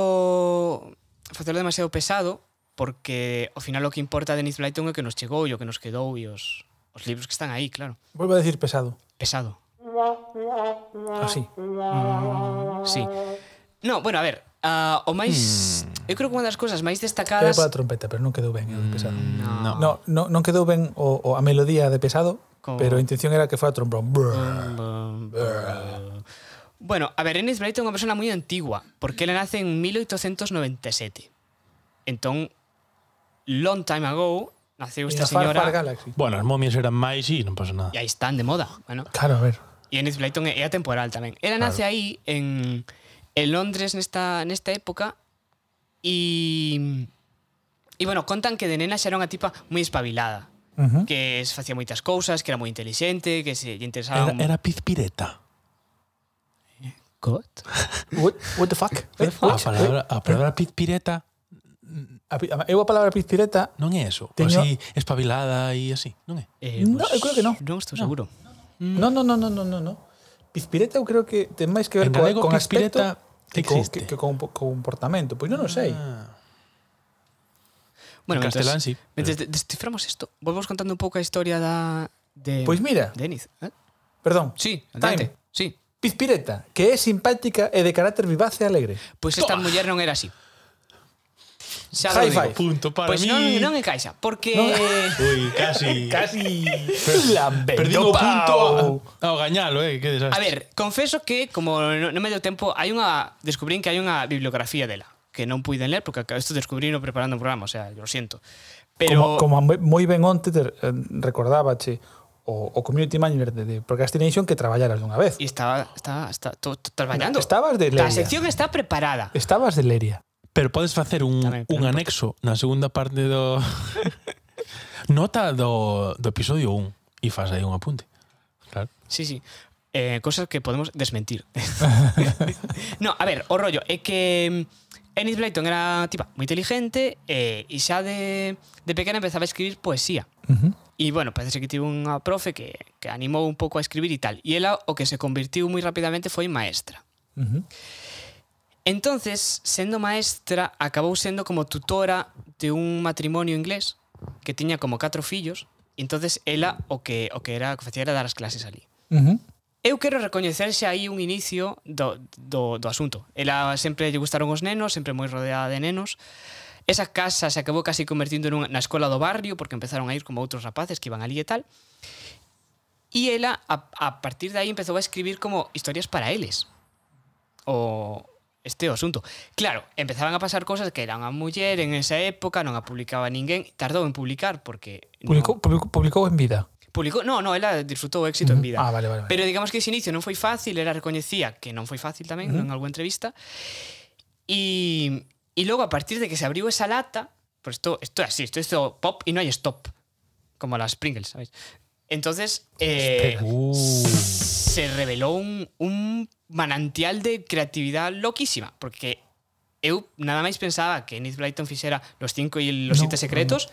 [SPEAKER 1] facelo demasiado pesado porque ao final o que importa de Dennis Blyton é o que nos chegou e o que nos quedou e os, os libros que están aí, claro.
[SPEAKER 2] Volvo a decir pesado,
[SPEAKER 1] Pesado.
[SPEAKER 2] así.
[SPEAKER 1] Sí. No, bueno, a ver, ah, o máis eu creo que unha das cousas máis
[SPEAKER 2] Era
[SPEAKER 1] destacadas
[SPEAKER 2] para a trompeta, pero non quedou ben eh, de pesado.
[SPEAKER 1] No.
[SPEAKER 2] No, no, non quedou ben o, o a melodía de pesado,
[SPEAKER 1] Como-
[SPEAKER 2] pero a intención era que fora trombón.
[SPEAKER 1] Bueno, a ver, Ennis Blyton é unha persona moi antigua, porque ela nace en 1897. Entón, long time ago, naceu
[SPEAKER 2] En
[SPEAKER 1] esta
[SPEAKER 2] a Far, Far
[SPEAKER 1] señora
[SPEAKER 2] Galaxy.
[SPEAKER 3] Bueno, as momias eran máis e non pasa nada.
[SPEAKER 1] e aí están de moda. Bueno,
[SPEAKER 2] Claro, a ver.
[SPEAKER 1] E Enid Blyton é é atemporal tamén. Ela nace aí en, en Londres nesta, nesta época e e bueno, contan que de nena xa era unha tipa moi espabilada,
[SPEAKER 2] Ujú.
[SPEAKER 1] que se facía moitas cousas, que era moi inteligente, que se lle interesaba
[SPEAKER 3] Era, era pizpireta.
[SPEAKER 1] God.
[SPEAKER 2] What, what Eh. the fuck?
[SPEAKER 3] A Ah, palabra, a palabra pizpireta
[SPEAKER 2] Ah, A pi- a- Eu a palabra pistireta
[SPEAKER 3] non é eso.
[SPEAKER 2] Teño-
[SPEAKER 3] Así, espabilada e así, non é?
[SPEAKER 1] Eh,
[SPEAKER 2] No, eu creo que non.
[SPEAKER 1] Non estou seguro.
[SPEAKER 2] No, no, no, no, no, no, no. Pizpireta eu creo que ten máis que ver
[SPEAKER 3] En
[SPEAKER 2] co,
[SPEAKER 3] galego,
[SPEAKER 2] con aspecto
[SPEAKER 3] pizpireta
[SPEAKER 2] que, co,
[SPEAKER 3] existe. Ah.
[SPEAKER 2] que, que con po- comportamento. Pois non o sei.
[SPEAKER 1] Bueno,
[SPEAKER 3] en
[SPEAKER 1] mentres-
[SPEAKER 3] castelán sí,
[SPEAKER 1] Mentres de- desciframos isto, volvos contando un pouco a historia da de
[SPEAKER 2] Pois Pues mira.
[SPEAKER 1] de Enid, eh?
[SPEAKER 2] Perdón.
[SPEAKER 1] Sí, adelante.
[SPEAKER 2] Time.
[SPEAKER 1] Sí.
[SPEAKER 2] Pizpireta, que é simpática e de carácter vivaz e alegre.
[SPEAKER 1] Pois Pues esta muller non era así. Xa
[SPEAKER 2] High
[SPEAKER 1] lo digo.
[SPEAKER 2] five.
[SPEAKER 3] Punto para
[SPEAKER 1] Pois
[SPEAKER 3] mí.
[SPEAKER 1] non, non encaixa, porque [laughs]
[SPEAKER 3] Ui, casi.
[SPEAKER 2] Casi
[SPEAKER 3] Perdín o
[SPEAKER 2] lambendo
[SPEAKER 3] punto
[SPEAKER 2] pau.
[SPEAKER 3] a- ao gañalo, eh, que
[SPEAKER 1] A
[SPEAKER 3] desastre.
[SPEAKER 1] ver, confeso que como non non me deu tempo, hai unha descubrín que hai unha bibliografía dela que non puiden ler porque isto descubrino preparando o programa, o sea, yo lo siento. Pero
[SPEAKER 2] Ah, Como, como moi- moi ben onte te eh, recordábache o, o community manager de, de Procrastination que traballaras dunha vez.
[SPEAKER 1] e estaba estaba está to, to, traballando.
[SPEAKER 2] No, estabas
[SPEAKER 1] A
[SPEAKER 2] de leria.
[SPEAKER 1] sección está preparada.
[SPEAKER 2] Estabas de Leria.
[SPEAKER 3] Pero podes facer un,
[SPEAKER 1] Tamén, pero
[SPEAKER 3] un
[SPEAKER 1] non
[SPEAKER 3] anexo na segunda parte
[SPEAKER 1] [laughs]
[SPEAKER 3] do nota do, do episodio 1 e fas aí un apunte. Claro.
[SPEAKER 1] Sí, sí. Eh, cosas que podemos
[SPEAKER 2] [laughs]
[SPEAKER 1] desmentir. no, a ver, o rollo é que Enid Blyton era tipa moi inteligente eh, e xa de, de pequena empezaba a escribir poesía.
[SPEAKER 2] Ujú.
[SPEAKER 1] E bueno, parece que tivo unha profe que, que animou un pouco a escribir e tal. E ela o que se convirtiu moi rapidamente foi en maestra.
[SPEAKER 2] Ujú.
[SPEAKER 1] Entonces, sendo maestra, acabou sendo como tutora de un matrimonio inglés que tiña como catro fillos. E entonces ela o que o que era o que facía era dar as clases ali.
[SPEAKER 2] Ujú.
[SPEAKER 1] Eu quero recoñecerse aí un inicio do, do, do asunto. Ela sempre lle gustaron os nenos, sempre moi rodeada de nenos. Esa casa se acabou casi convertindo nunha, na escola do barrio porque empezaron a ir como outros rapaces que iban ali e tal. E ela, a, a partir de aí, empezou a escribir como historias para eles. O este o asunto. Claro, empezaban a pasar cosas que eran a muller en esa época, non a publicaba ninguén, tardou en publicar porque...
[SPEAKER 2] Publicou,
[SPEAKER 1] non-
[SPEAKER 2] publicou, publicou en vida.
[SPEAKER 1] publicou, no, no, ela disfrutou o éxito en vida.
[SPEAKER 2] Ah, vale, vale. vale.
[SPEAKER 1] Pero digamos que ese inicio non foi fácil, era recoñecía que non foi fácil tamén en algunha entrevista. E e logo a partir de que se abriu esa lata, pues isto isto é así, isto isto pop e non hai stop, como las Pringles, sabes? Entonces, eh,
[SPEAKER 3] Uh.
[SPEAKER 1] se
[SPEAKER 2] Uh.
[SPEAKER 1] revelou un, un manantial de creatividad loquísima, porque eu nada máis pensaba que Enid Blyton fixera los cinco e los
[SPEAKER 2] No,
[SPEAKER 1] siete secretos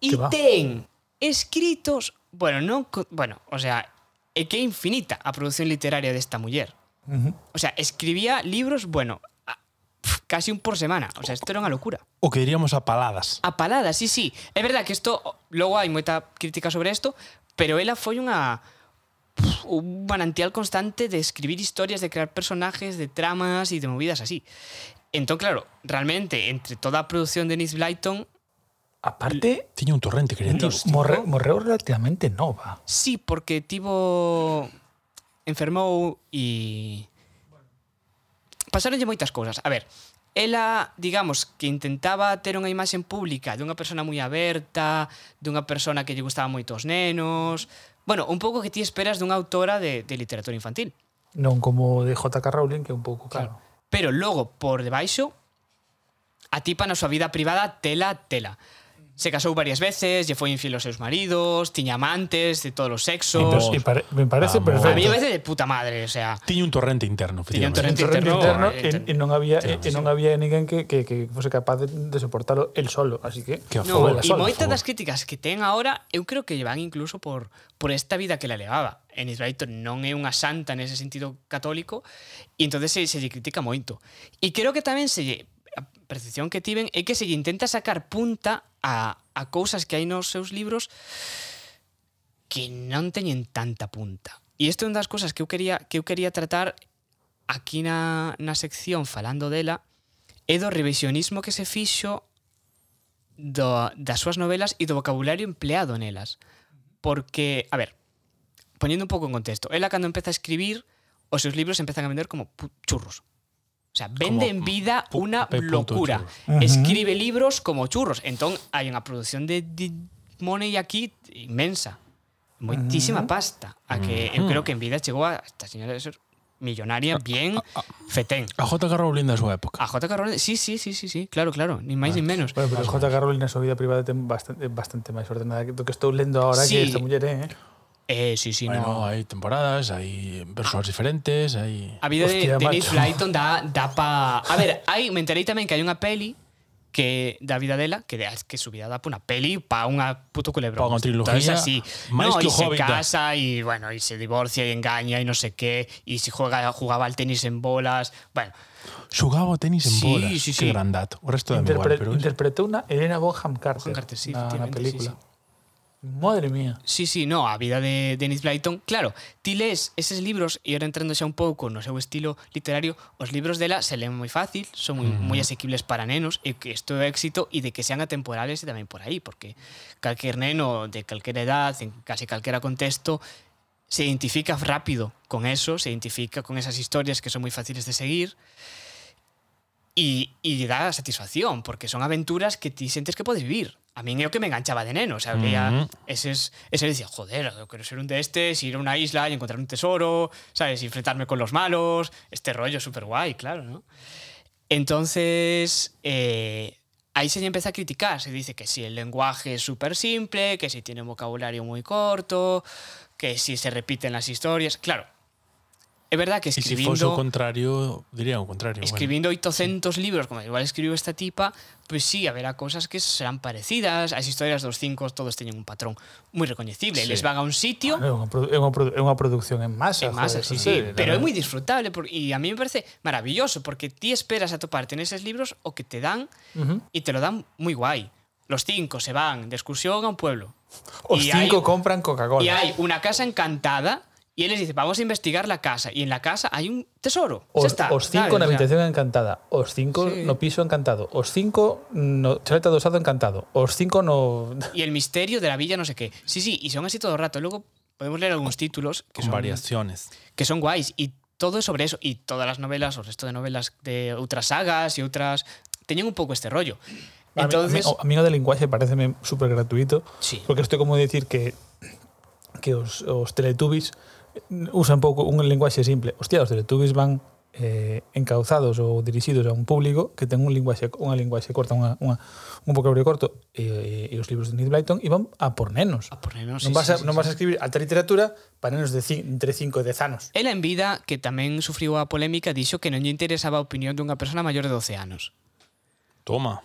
[SPEAKER 1] e
[SPEAKER 2] Que va.
[SPEAKER 1] ten escritos, bueno, non, co- bueno, o sea, é que é infinita a produción literaria desta muller.
[SPEAKER 2] Ujú.
[SPEAKER 1] O sea, escribía libros, bueno, a- pf, casi un por semana. O sea, isto era unha locura.
[SPEAKER 3] O que diríamos a paladas.
[SPEAKER 1] A palada, sí, sí. É verdad que isto, logo hai moita crítica sobre isto, pero ela foi unha pf, un manantial constante de escribir historias, de crear personajes, de tramas e de movidas así. Entón, claro, realmente, entre toda a produción de Nis Blyton,
[SPEAKER 2] Aparte,
[SPEAKER 3] Tiña un torrente creativo.
[SPEAKER 2] morre- morreu relativamente nova.
[SPEAKER 1] sí, porque tivo enfermou e pasaronlle moitas cousas. A ver, ela, digamos, que intentaba ter unha imaxe pública dunha persona moi aberta, dunha persona que lle gustaba moito os nenos, bueno, un pouco que ti esperas dunha autora de, de literatura infantil.
[SPEAKER 2] Non como de J.K. Rowling, que é un pouco, claro.
[SPEAKER 1] Pero logo, por debaixo, a tipa na súa vida privada tela, tela. Se casou varias veces, lle foi infiel aos seus maridos, tiña amantes de todos os sexos.
[SPEAKER 3] Vamos.
[SPEAKER 2] Y pare- me parece
[SPEAKER 3] Vamos.
[SPEAKER 1] A mí me
[SPEAKER 2] perfecto.
[SPEAKER 1] parece de puta madre, o sea...
[SPEAKER 3] Tiña un torrente interno,
[SPEAKER 1] Tiña un
[SPEAKER 3] efectivamente.
[SPEAKER 1] torrente
[SPEAKER 2] Torrente
[SPEAKER 1] interno,
[SPEAKER 2] interno,
[SPEAKER 1] eh,
[SPEAKER 2] e- e non había e, e non había ninguén que, que, que fose capaz de, de soportalo el solo, así que
[SPEAKER 3] Que a
[SPEAKER 1] No,
[SPEAKER 3] favor,
[SPEAKER 2] Ela
[SPEAKER 1] e
[SPEAKER 2] sola,
[SPEAKER 1] moitas
[SPEAKER 3] por
[SPEAKER 1] das
[SPEAKER 3] favor.
[SPEAKER 1] críticas que ten agora eu creo que lle van incluso por por esta vida que la levaba. En Israelton non é unha santa nese sentido católico e entonces se, se lle critica moito. E creo que tamén se lle a percepción que tiven é que se lle intenta sacar punta a, a cousas que hai nos seus libros que non teñen tanta punta. E isto é unha das cousas que eu quería que eu quería tratar aquí na, na sección falando dela é do revisionismo que se fixo do, das súas novelas e do vocabulario empleado nelas. Porque, a ver, poñendo un pouco en contexto, ela cando empeza a escribir, os seus libros empezan a vender como pu- churros. O sea, vende en vida
[SPEAKER 3] pu-
[SPEAKER 1] unha
[SPEAKER 3] pe- punto
[SPEAKER 1] locura.
[SPEAKER 2] churros.
[SPEAKER 1] Escribe libros como churros. Entón, hai unha produción de, de money aquí inmensa. Moitísima pasta. A que eu creo que en vida chegou a esta señora de ser millonaria, bien,
[SPEAKER 3] Ah,
[SPEAKER 1] fetén.
[SPEAKER 3] A J.K. Rowling da súa época.
[SPEAKER 1] A J.K. Rowling, sí, sí, sí, sí, sí, claro, claro, ni máis ni menos.
[SPEAKER 3] pues,
[SPEAKER 2] Bueno, pero J.K. Rowling na súa vida privada ten bastante, bastante máis ordenada que- do que estou lendo agora
[SPEAKER 1] Sí.
[SPEAKER 2] que esta muller é, eh.
[SPEAKER 1] Eh, sí, sí, no.
[SPEAKER 3] Bueno, hai temporadas,
[SPEAKER 1] Ah.
[SPEAKER 3] hai persoas diferentes, hai...
[SPEAKER 1] A vida de,
[SPEAKER 2] Hostia,
[SPEAKER 1] de Denise
[SPEAKER 2] macho.
[SPEAKER 1] Blyton dá, dá pa... A ver, hai, me enterei tamén que hai unha peli que da vida dela, que de, que su vida dá pa unha peli pa unha puto culebro.
[SPEAKER 3] Pa unha trilogía,
[SPEAKER 1] así.
[SPEAKER 3] máis
[SPEAKER 1] no, y
[SPEAKER 3] que o
[SPEAKER 1] se
[SPEAKER 3] Hobbit dá.
[SPEAKER 1] casa y bueno, y se divorcia y engaña y no sé qué, y si juega jugaba al tenis en bolas. Bueno,
[SPEAKER 3] Xugaba o tenis en
[SPEAKER 1] Sí,
[SPEAKER 3] bolas.
[SPEAKER 1] sí, sí.
[SPEAKER 3] Que gran dato. O resto da mi igual,
[SPEAKER 2] Interpre
[SPEAKER 3] pero... es-
[SPEAKER 2] interpretou na Elena Bonham
[SPEAKER 1] Bonham
[SPEAKER 2] Carter,
[SPEAKER 1] Carter, sí,
[SPEAKER 2] na, na
[SPEAKER 1] efectivamente, sí,
[SPEAKER 2] película. Madre mía.
[SPEAKER 1] Sí, sí, no, a vida de Dennis Blyton. Claro, ti lees eses libros e ahora entrando xa un pouco no seu estilo literario, os libros dela se leen moi fácil, son moi, moi asequibles para nenos e que isto é éxito e de que sean atemporales e tamén por aí, porque calquer neno de calquera edad, en case calquera contexto, se identifica rápido con eso, se identifica con esas historias que son moi fáciles de seguir e, e lle dá satisfacción, porque son aventuras que ti sentes que podes vivir. A min é o que me enganchaba de neno, o sea, veía
[SPEAKER 3] Ujú.
[SPEAKER 1] eses, ese decía, joder, eu quero ser un destes, ir a unha isla e encontrar un tesoro, sabes, Y enfrentarme con los malos, este rollo super guai, claro, ¿no? Entonces, eh, ahí se le empieza a criticar. Se dice que si el lenguaje es súper simple, que si tiene un vocabulario muy corto, que si se repiten las historias. Claro, es verdad que
[SPEAKER 3] E se fose o
[SPEAKER 1] escribiendo,
[SPEAKER 3] contrario, diría o contrario. bueno.
[SPEAKER 1] escribiendo 800 libros, como igual escribió esta tipa, pues sí, habrá cosas que serán parecidas. Las historias de los cinco todos tienen un patrón muy reconocible.
[SPEAKER 3] Sí.
[SPEAKER 1] Les van a un sitio.
[SPEAKER 2] É unha, produ- é unha, produ- é unha producción en masa.
[SPEAKER 1] En masa,
[SPEAKER 2] joder,
[SPEAKER 1] sí,
[SPEAKER 2] non
[SPEAKER 1] sí.
[SPEAKER 2] sei,
[SPEAKER 1] Pero
[SPEAKER 2] la
[SPEAKER 1] es muy
[SPEAKER 2] verdad.
[SPEAKER 1] disfrutable por- y a mí me parece maravilloso porque ti esperas a toparte en esos libros o que te dan
[SPEAKER 2] Ujú.
[SPEAKER 1] y te lo dan muy guay. Los cinco se van de excursión a un pueblo
[SPEAKER 2] Os
[SPEAKER 1] Y
[SPEAKER 2] cinco
[SPEAKER 1] hay-
[SPEAKER 2] compran
[SPEAKER 1] y
[SPEAKER 2] Coca-Cola.
[SPEAKER 1] hay una casa encantada y él les dice, vamos a investigar la casa y en la casa hay un tesoro. Ya
[SPEAKER 2] Os,
[SPEAKER 1] está,
[SPEAKER 2] os cinco
[SPEAKER 1] ¿sabes?
[SPEAKER 2] na
[SPEAKER 1] O sea,
[SPEAKER 2] habitación encantada, os cinco
[SPEAKER 1] Sí.
[SPEAKER 2] no piso encantado, os cinco no chaleta adosado encantado, os cinco no
[SPEAKER 1] Y el misterio de la villa no sé qué. Sí, sí, y son así todo el rato. Luego podemos leer algunos títulos que son,
[SPEAKER 3] Con variaciones.
[SPEAKER 1] que son guays y todo es sobre eso. Y todas las novelas o resto de novelas de otras sagas y otras... Tenían un poco este rollo. Entonces...
[SPEAKER 2] a mí, oh, a mí o de lenguaje pareceme súper gratuito,
[SPEAKER 1] Sí.
[SPEAKER 2] porque esto é como decir que que os, os teletubbies eh, usan pouco un lenguaje simple. Hostia, os teletubbies van eh, encauzados ou dirixidos a un público que ten un linguaxe unha linguaxe corta, unha, unha, un vocabulario corto e, e, e os libros de Neil Blyton iban a por nenos.
[SPEAKER 1] Ah, por lo menos,
[SPEAKER 2] non
[SPEAKER 1] sí,
[SPEAKER 2] vas,
[SPEAKER 1] sí,
[SPEAKER 2] a,
[SPEAKER 1] sí,
[SPEAKER 2] non
[SPEAKER 1] sí.
[SPEAKER 2] vas a escribir alta literatura para nenos de cin, entre 5 e 10 anos.
[SPEAKER 1] Ela en vida, que tamén sufriu a polémica, dixo que non lle interesaba a opinión dunha persona maior de 12 anos.
[SPEAKER 3] Toma.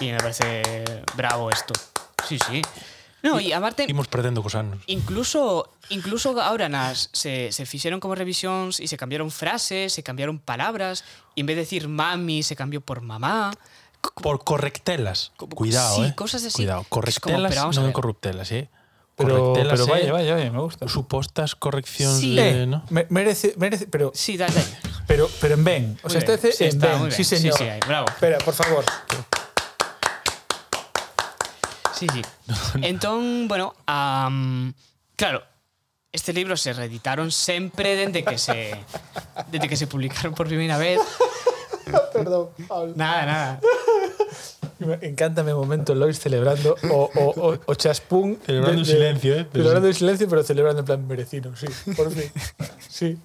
[SPEAKER 1] E me parece bravo isto. Sí, sí. No, e aparte,
[SPEAKER 3] Imos perdendo cos anos.
[SPEAKER 1] Incluso incluso ahora nas se, se fixeron como revisións e se cambiaron frases, se cambiaron palabras, e en vez de decir mami se cambió por mamá. Co- co-
[SPEAKER 3] Por correctelas.
[SPEAKER 1] Como-
[SPEAKER 3] Cuidado,
[SPEAKER 1] sí,
[SPEAKER 3] eh.
[SPEAKER 1] cosas así.
[SPEAKER 3] Cuidado.
[SPEAKER 1] Es como,
[SPEAKER 3] Correctelas,
[SPEAKER 1] pero vamos a
[SPEAKER 3] non
[SPEAKER 1] ver.
[SPEAKER 3] corruptelas, eh.
[SPEAKER 2] Pero,
[SPEAKER 3] Correctelas
[SPEAKER 2] pero
[SPEAKER 3] é
[SPEAKER 2] vaya, vaya, vaya, me gusta.
[SPEAKER 3] Supostas correccións
[SPEAKER 1] Sí.
[SPEAKER 3] de, no?
[SPEAKER 2] Eh, Me- merece, merece, pero,
[SPEAKER 1] Sí, dale, dale.
[SPEAKER 2] pero, pero en Ben. O sea,
[SPEAKER 1] Muy
[SPEAKER 2] este
[SPEAKER 1] bien,
[SPEAKER 2] hace
[SPEAKER 1] sí,
[SPEAKER 2] en
[SPEAKER 1] está, muy
[SPEAKER 2] Ben.
[SPEAKER 1] bien.
[SPEAKER 2] Sí, señor.
[SPEAKER 1] Sí, sí, ahí, bravo.
[SPEAKER 2] Espera, por favor.
[SPEAKER 1] Sí,
[SPEAKER 2] [laughs]
[SPEAKER 1] sí. Entón, bueno, am, claro, este libro se reeditaron sempre dende que se dende que se publicaron por primeira vez.
[SPEAKER 2] Perdón, Pablo.
[SPEAKER 1] Nada, nada.
[SPEAKER 2] Encántame o momento Lois celebrando o, o, o, o chaspún.
[SPEAKER 3] [laughs] Celebrando en silencio, eh, pero
[SPEAKER 2] Celebrando en silencio, pero celebrando en plan merecido, sí. Por fin. Sí.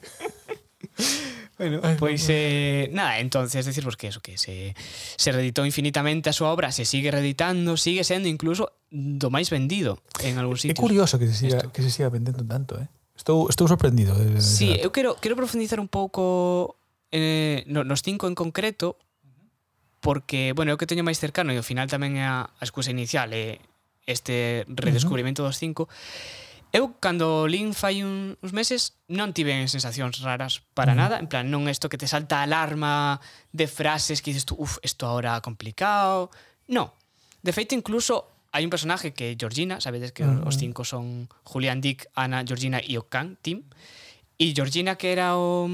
[SPEAKER 1] Bueno, pois eh, nada, entonces decirvos que eso, que se, se reeditó infinitamente a súa obra, se sigue reeditando, sigue sendo incluso do máis vendido en algún
[SPEAKER 2] É
[SPEAKER 1] sitio.
[SPEAKER 2] curioso que se siga, que se siga vendendo tanto, eh? Estou, estou sorprendido. de- de-
[SPEAKER 1] Sí,
[SPEAKER 2] de-
[SPEAKER 1] eu quero, quero profundizar un pouco eh, no- nos cinco en concreto porque, bueno, é o que teño máis cercano e ao final tamén é a, a excusa inicial é este redescubrimento dos cinco Eu, cando lin fai un, uns meses, non tiven sensacións raras para nada. En plan, non isto que te salta a alarma de frases que dices tú, uff, isto agora complicado. No. De feito, incluso, hai un personaje que é Georgina, sabedes que
[SPEAKER 2] Ujú.
[SPEAKER 1] os cinco son Julián, Dick, Ana, Georgina e o Kang, Tim. E Georgina que era o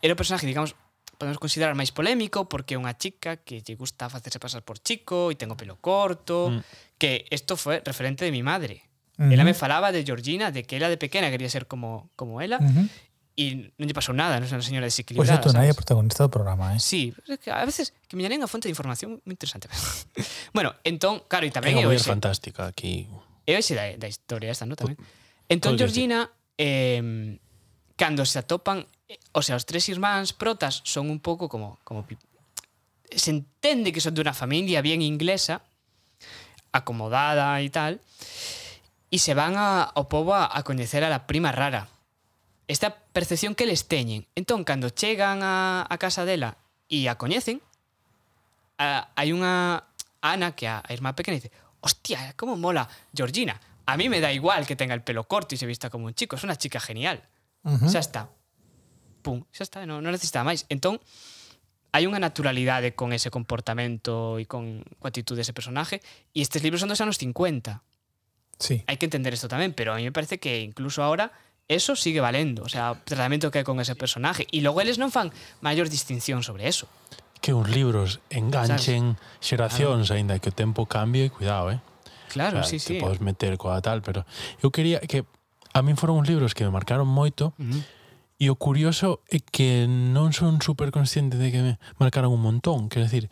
[SPEAKER 1] era o personaje, digamos, podemos considerar máis polémico porque é unha chica que lle gusta facerse pasar por chico e ten o pelo corto,
[SPEAKER 3] Mm.
[SPEAKER 1] que isto foi referente de mi madre.
[SPEAKER 2] Ujú.
[SPEAKER 1] Ela me falaba de Georgina, de que ela de pequena quería ser como como ela
[SPEAKER 2] Ujú.
[SPEAKER 1] e non lle pasou nada, non é unha señora
[SPEAKER 3] eh,
[SPEAKER 2] Pois
[SPEAKER 1] desequilibrada.
[SPEAKER 2] é tú,
[SPEAKER 1] sabes?
[SPEAKER 2] Naya, protagonista do programa, eh?
[SPEAKER 1] Sí, pero é que a veces que me llenen a fonte de información moi interesante. [laughs] bueno, entón, claro, e
[SPEAKER 3] É
[SPEAKER 1] tamén é o
[SPEAKER 3] unha muller
[SPEAKER 1] ese,
[SPEAKER 3] fantástica aquí.
[SPEAKER 1] é o ese da, da historia esta, non tamén. Entón
[SPEAKER 3] podría ser.
[SPEAKER 1] Georgina eh, cando se atopan, eh, o sea, os tres irmáns protas son un pouco como como pi- se entende que son de una familia bien inglesa, acomodada e tal, e se van a, ao pobo a, a coñecer a la prima rara. Esta percepción que les teñen. Entón, cando chegan a, a casa dela e a coñecen, a, hai unha Ana que a, a irmá pequena dice hostia, como mola Georgina. A mí me da igual que tenga el pelo corto y se vista como un chico. Es una chica genial.
[SPEAKER 2] Ujú.
[SPEAKER 1] Xa está. Pum, xa está, non, non necesita máis. Entón, hai unha naturalidade con ese comportamento e con coa actitud dese personaje e estes libros son dos anos 50.
[SPEAKER 2] Sí.
[SPEAKER 1] Hai que entender isto tamén, pero a mí me parece que incluso ahora eso sigue valendo, o sea, o tratamento que hai con ese personaje e logo eles non fan maior distinción sobre eso.
[SPEAKER 3] Que uns libros enganchen xeracións, aínda que o tempo cambie, cuidado, eh.
[SPEAKER 1] Claro,
[SPEAKER 3] O
[SPEAKER 1] sí,
[SPEAKER 3] sea, te
[SPEAKER 1] sí.
[SPEAKER 3] podes meter coa tal, pero eu quería que a min foron uns libros que me marcaron moito
[SPEAKER 1] Ujú.
[SPEAKER 3] e o curioso é que non son super consciente de que me marcaron un montón, quer decir,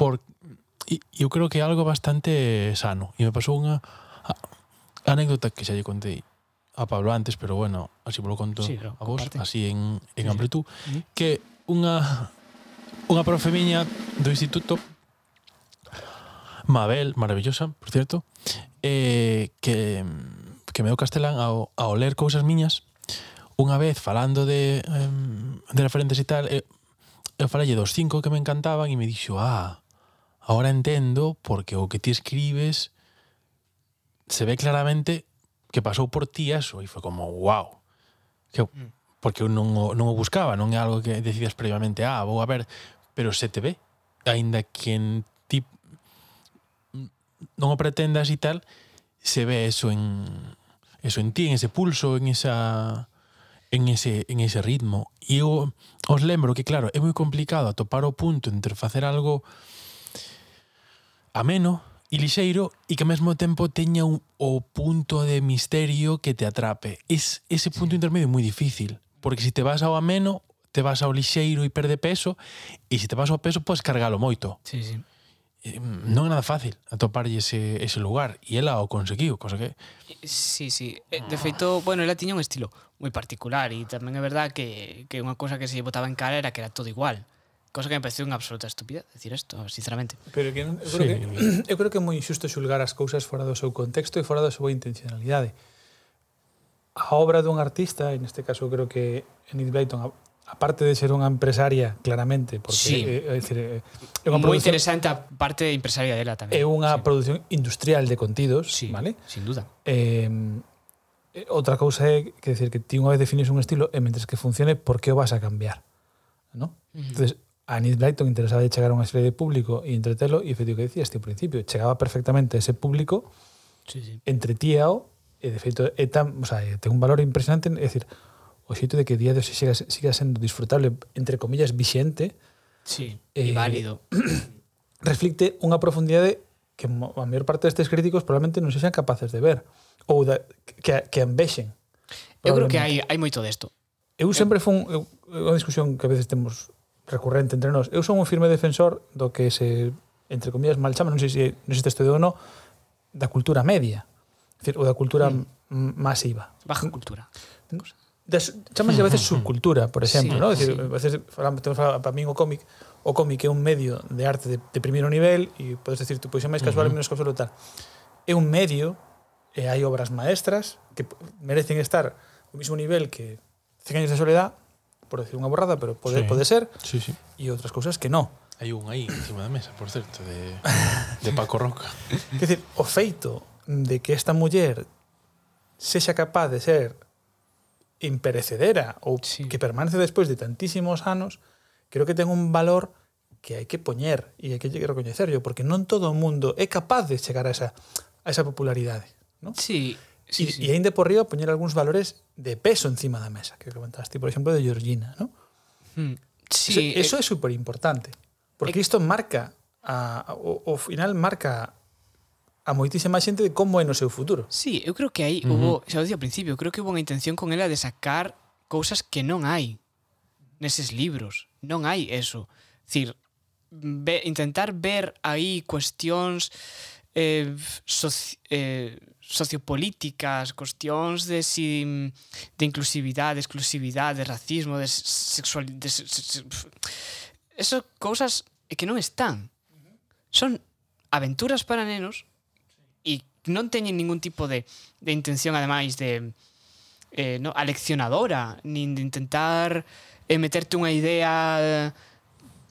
[SPEAKER 3] por e eu creo que é algo bastante sano e me pasou unha a- anécdota que xa lle contei a Pablo antes, pero bueno, así polo conto
[SPEAKER 1] Sí, lo
[SPEAKER 3] a vos,
[SPEAKER 1] comparte.
[SPEAKER 3] así en,
[SPEAKER 1] Sí,
[SPEAKER 3] en
[SPEAKER 1] sí.
[SPEAKER 3] amplitud,
[SPEAKER 1] Ujú.
[SPEAKER 3] que unha unha profe miña do instituto Mabel, maravillosa, por cierto, eh, que, que me deu castelán ao, ao ler cousas miñas unha vez falando de, em, de referentes e tal eh, eu falalle dos cinco que me encantaban e me dixo, ah, ahora entendo porque o que ti escribes se ve claramente que pasou por ti eso e foi como, wow que, porque eu non o, non o buscaba non é algo que decidas previamente ah, vou a ver, pero se te ve aínda que en ti non o pretendas e tal, se ve eso en eso en ti, en ese pulso, en esa en ese en ese ritmo. E eu os lembro que claro, é moi complicado atopar o punto entre facer algo ameno e lixeiro e que ao mesmo tempo teña un, o punto de misterio que te atrape. Es, ese punto intermedio é moi difícil, porque se te vas ao ameno, te vas ao lixeiro e perde peso, e se te vas ao peso, podes cargalo moito
[SPEAKER 1] Sí, sí.
[SPEAKER 3] eh, non é nada fácil atoparlle ese, ese lugar e ela o conseguiu, cosa que
[SPEAKER 1] Sí, sí. Eh, De feito, bueno, ela tiña un estilo moi particular e tamén é verdad que, que unha cousa que se lle botaba en cara era que era todo igual. Cosa que me pareceu unha absoluta estupidez decir isto, sinceramente.
[SPEAKER 2] Pero que non, eu, creo
[SPEAKER 3] Sí.
[SPEAKER 2] que, eu creo que [clears throat] é moi injusto xulgar as cousas fora do seu contexto e fora da súa intencionalidade. A obra dun artista, en este caso creo que é Enid Blyton, a, a aparte de ser unha empresaria, claramente, porque
[SPEAKER 1] Sí.
[SPEAKER 2] eh, é, dicir, é unha
[SPEAKER 1] Moi
[SPEAKER 2] produción,
[SPEAKER 1] interesante a parte empresaria dela tamén.
[SPEAKER 2] é unha produción industrial de contidos,
[SPEAKER 1] sí,
[SPEAKER 2] vale?
[SPEAKER 1] Sin duda.
[SPEAKER 2] Eh, eh, outra cousa é que decir que ti unha vez defines un estilo e mentres que funcione, por que o vas a cambiar? ¿no? Entonces, a Enid Blyton interesaba de chegar a unha serie de público e entretelo e efectivo que decías ti ao principio, chegaba perfectamente a ese público
[SPEAKER 1] Sí, sí.
[SPEAKER 2] entretíao e de feito é tan, o sea, é- ten un valor impresionante, é dicir, o xeito de que día de hoxe siga, siga sendo disfrutable, entre comillas, vixente,
[SPEAKER 1] Sí, e
[SPEAKER 2] Eh,
[SPEAKER 1] válido.
[SPEAKER 2] reflicte unha profundidade que mo- a maior parte destes críticos probablemente non se sean capaces de ver ou da, que, que ambexen.
[SPEAKER 1] Eu creo que hai hai moito desto.
[SPEAKER 2] Eu sempre fun eu, é unha discusión que a veces temos recurrente entre nós. Eu son un firme defensor do que se entre comillas mal chama, non sei se non sei se isto é ou non, da cultura media, é dicir, ou da cultura mm. masiva.
[SPEAKER 1] Baja cultura.
[SPEAKER 2] das, chamase a veces subcultura, por exemplo,
[SPEAKER 1] Sí,
[SPEAKER 2] ¿no? Es decir,
[SPEAKER 1] sí.
[SPEAKER 2] a veces falamos, temos falado, para min o cómic, o cómic é un medio de arte de, de primeiro nivel e podes decir, tú pois é máis casual e menos casual e tal. É un medio e hai obras maestras que p- merecen estar ao mesmo nivel que 100 años de soledad, por decir unha borrada, pero pode,
[SPEAKER 3] Sí.
[SPEAKER 2] pode ser,
[SPEAKER 3] Sí, sí.
[SPEAKER 2] e outras cousas que non.
[SPEAKER 3] Hai un aí encima da mesa, por certo, [laughs] de, de Paco Roca.
[SPEAKER 2] Quer dizer, o feito de que esta muller sexa capaz de ser imperecedera ou
[SPEAKER 1] Sí.
[SPEAKER 2] sí. que permanece despois de tantísimos anos, creo que ten un valor que hai que poñer e hai que recoñecerlo, porque non todo o mundo é capaz de chegar a esa a esa popularidade, ¿no?
[SPEAKER 1] Sí, sí,
[SPEAKER 2] e,
[SPEAKER 1] sí.
[SPEAKER 2] e ainda por riba poñer algúns valores de peso encima da mesa, que comentaste, por exemplo, de Georgina, ¿no?
[SPEAKER 1] Mm. Sí,
[SPEAKER 2] Sí, eso
[SPEAKER 1] eh,
[SPEAKER 2] é super importante, porque isto marca a, a- o, o final marca a moitísima xente de como é no seu futuro.
[SPEAKER 1] sí, eu creo que aí hubo, xa o dicía ao principio, creo que hubo unha intención con ela de sacar cousas que non hai neses libros. Non hai eso. Cir, ve, intentar ver aí cuestións eh, soci, eh, sociopolíticas, cuestións de, si, de inclusividade, de exclusividade, de racismo, de sexualidade... De, se- se- se- esas cousas que non están. Son aventuras para nenos e non teñen ningún tipo de, de intención, ademais, de eh, no, aleccionadora, nin de intentar eh, meterte unha idea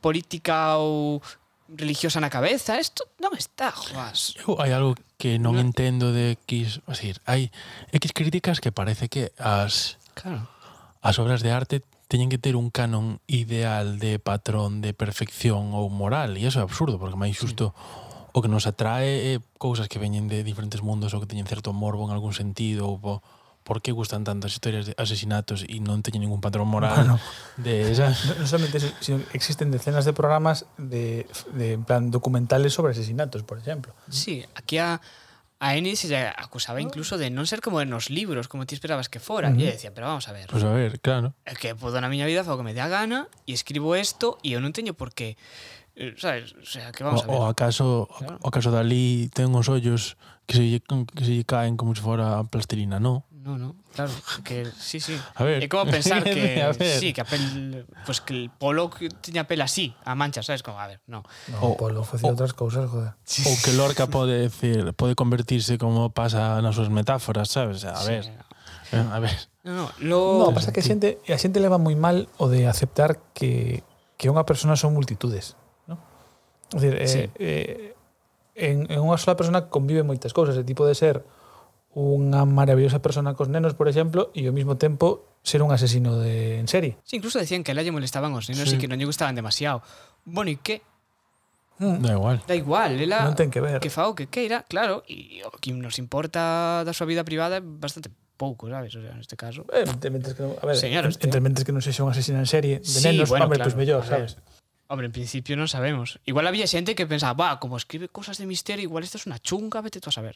[SPEAKER 1] política ou religiosa na cabeza. Isto non está, Joás.
[SPEAKER 3] Eu hai algo que
[SPEAKER 1] No.
[SPEAKER 3] non entendo de X, o sea, hai X críticas que parece que as
[SPEAKER 1] Claro.
[SPEAKER 3] as obras de arte teñen que ter un canon ideal de patrón de perfección ou moral e eso é absurdo porque máis xusto o que nos atrae é cousas que veñen de diferentes mundos ou que teñen certo morbo en algún sentido ou po, por que gustan tantas historias de asesinatos e non teñen ningún patrón moral
[SPEAKER 2] Bueno.
[SPEAKER 3] de esas
[SPEAKER 2] No, no solamente eso, sino que existen decenas de programas de, de en plan documentales sobre asesinatos, por ejemplo.
[SPEAKER 1] Sí, aquí a, a Enid se lle acusaba incluso de non ser como nos libros, como ti esperabas que fora. E eu decía, pero vamos a ver,
[SPEAKER 3] Pois pues a ver, claro
[SPEAKER 1] é que podo na miña vida fago o que me dé a gana e escribo isto e eu non teño por qué eh, sabes, o sea, que
[SPEAKER 3] O,
[SPEAKER 1] vamos a ver.
[SPEAKER 3] o acaso
[SPEAKER 1] Claro.
[SPEAKER 3] o acaso Dalí ten uns ollos que se, lle- que se lle caen como se fora plastilina, non?
[SPEAKER 1] No, no, claro, que sí, sí.
[SPEAKER 3] A
[SPEAKER 1] É
[SPEAKER 3] ver.
[SPEAKER 1] como pensar que
[SPEAKER 3] [laughs] A ver.
[SPEAKER 1] sí, que a pel, pues que el polo que tiña pel así, a mancha, sabes como, a ver, no.
[SPEAKER 2] No, Polo facía outras cousas, joder.
[SPEAKER 3] Ou que Lorca pode decir, pode convertirse como pasa nas súas metáforas, sabes? A ver, eh, a ver.
[SPEAKER 1] No, no, lo
[SPEAKER 2] No, pasa que a xente, a xente leva moi mal o de aceptar que que unha persona son multitudes, ¿no? É dicir, eh,
[SPEAKER 1] Sí.
[SPEAKER 2] eh, en, en unha sola persona convive moitas cousas, e tipo de ser unha maravillosa persona cos nenos, por exemplo, e ao mesmo tempo ser un asesino de en serie.
[SPEAKER 1] Sí, incluso decían que a ela lle molestaban os nenos sí. e
[SPEAKER 3] Sí.
[SPEAKER 1] que non lle gustaban demasiado. Bueno, e que?
[SPEAKER 3] Da igual.
[SPEAKER 1] Da igual, ela
[SPEAKER 2] Non ten que
[SPEAKER 1] Ah,
[SPEAKER 2] ver.
[SPEAKER 1] Que fa o que queira, claro, e o que nos importa da súa vida privada é bastante pouco, sabes? O sea, neste caso.
[SPEAKER 2] Eh, entre mentres que non, a ver,
[SPEAKER 1] Señor, hostia.
[SPEAKER 2] entre mentres que non sexa un asesino en serie de
[SPEAKER 1] Sí,
[SPEAKER 2] nenos,
[SPEAKER 1] bueno,
[SPEAKER 2] hombre,
[SPEAKER 1] claro,
[SPEAKER 2] pois
[SPEAKER 1] a
[SPEAKER 2] mellor,
[SPEAKER 1] ver.
[SPEAKER 2] sabes?
[SPEAKER 1] Hombre, en principio non sabemos. Igual había xente que pensaba, va, como escribe cosas de misterio, igual esto es una chunga, vete tú a saber.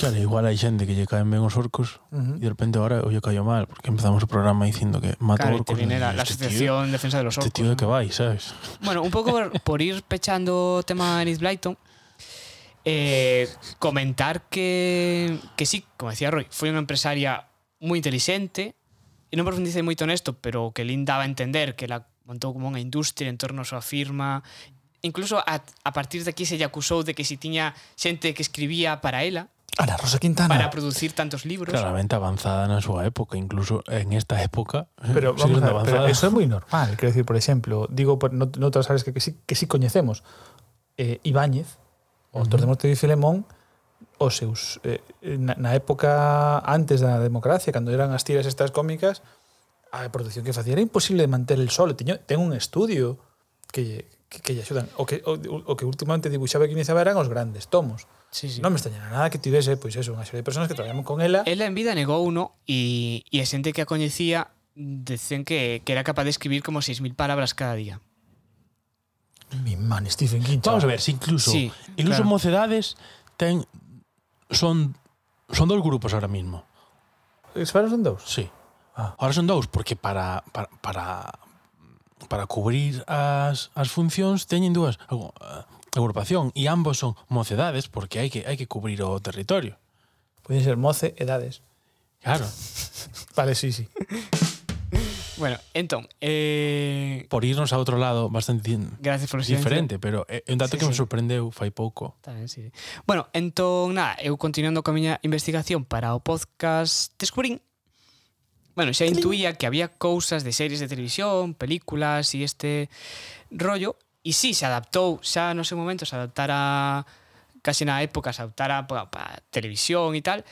[SPEAKER 3] Claro, igual hai xente que lle caen ben os orcos e
[SPEAKER 2] Ujú.
[SPEAKER 3] de repente ahora o lle cayó mal, porque empezamos o programa dicindo que mata
[SPEAKER 1] Claro, y te
[SPEAKER 3] orcos.
[SPEAKER 1] viene
[SPEAKER 3] e
[SPEAKER 1] la, la
[SPEAKER 3] este
[SPEAKER 1] Asociación Defensa de los
[SPEAKER 3] Tío,
[SPEAKER 1] Orcos.
[SPEAKER 3] este tío
[SPEAKER 1] ¿no?
[SPEAKER 3] de que vai, sabes?
[SPEAKER 1] Bueno, un poco por, por ir pechando tema Enid Blyton, eh, comentar que, que sí, como decía Roy, foi unha empresaria moi inteligente, e non profundicei moito nesto, pero que Lynn daba a entender que la montou como unha industria en torno a súa firma, incluso a, a partir de aquí se lle acusou de que si tiña xente que escribía para ela,
[SPEAKER 2] Ana Rosa Quintana.
[SPEAKER 1] para producir tantos libros.
[SPEAKER 3] Claramente avanzada na súa época, incluso en esta época.
[SPEAKER 2] [laughs] Pero,
[SPEAKER 3] sigue sendo
[SPEAKER 2] vamos a ver, pero
[SPEAKER 3] avanzada.
[SPEAKER 2] eso es muy normal. Quiero decir, por ejemplo, digo, por- no, no otras áreas que, que sí, que sí coñecemos. Eh, Ibáñez, o autor de Morte de Filemón, o seus, eh, na, na época antes da democracia, cando eran as tiras estas cómicas, a produción que facía era imposible de manter el solo. Tiño, ten un estudio que lle, que, que lle axudan. O que, o, o que últimamente dibuixaba que iniciaba eran os grandes tomos.
[SPEAKER 1] Sí, sí. Eh.
[SPEAKER 2] Non me extrañará nada que tivese, pois eso, unha serie de personas que traballaban con ela.
[SPEAKER 1] Ela en vida negou uno e, e a xente que a coñecía decían que, que era capaz de escribir como 6.000 palabras cada día.
[SPEAKER 2] Mi man, Stephen King.
[SPEAKER 3] Vamos a
[SPEAKER 2] chaval.
[SPEAKER 3] ver, si incluso
[SPEAKER 1] Sí,
[SPEAKER 3] incluso
[SPEAKER 1] claro.
[SPEAKER 3] mocedades ten son son dos grupos ahora mismo.
[SPEAKER 2] Disparos en dous.
[SPEAKER 3] Sí.
[SPEAKER 2] Ah.
[SPEAKER 3] Ahora son dous porque para para para para cubrir as as funcións teñen dúas agu- ah, agrupación e ambos son mocedades porque hai que hai que cubrir o territorio.
[SPEAKER 2] Pueden ser moce, edades.
[SPEAKER 3] Claro.
[SPEAKER 2] Vale, sí, sí.
[SPEAKER 1] Bueno, entón, eh,
[SPEAKER 3] Por irnos a outro lado bastante din-
[SPEAKER 1] gracias por o silencio.
[SPEAKER 3] diferente, pero eh, é é un dato
[SPEAKER 1] Sí,
[SPEAKER 3] sí, que me
[SPEAKER 1] sí.
[SPEAKER 3] sorprendeu fai pouco.
[SPEAKER 1] Tamén, sí. Bueno, entón, nada, eu continuando coa miña investigación para o podcast descubrín Bueno, xa intuía que había cousas de series de televisión, películas e este rollo E sí, se adaptou, xa no seu momento se adaptara case na época se adaptara pa, pa televisión e tal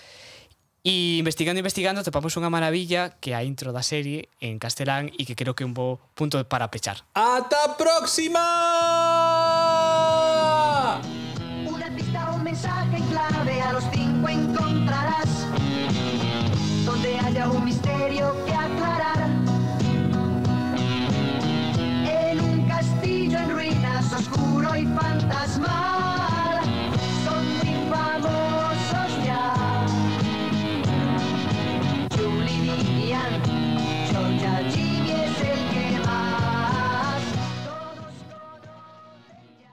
[SPEAKER 1] E investigando, investigando, topamos unha maravilla que é a intro da serie en castelán e que creo que é un bo punto para pechar.
[SPEAKER 2] ¡Hasta próxima!
[SPEAKER 6] Una pista o un mensaje en clave a los cinco encontrarás. Donde haya un misterio que aclarar. En un castillo en ruinas, oscuro y fantasmal. Son muy famosos ya. Julie Vivian, Georgia Jimmy es el que más. Todos conocen ya.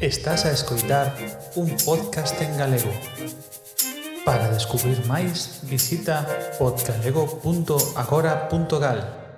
[SPEAKER 2] Estás a escoitar un podcast en galego. Para descubrir máis, visita podcalego.agora.gal.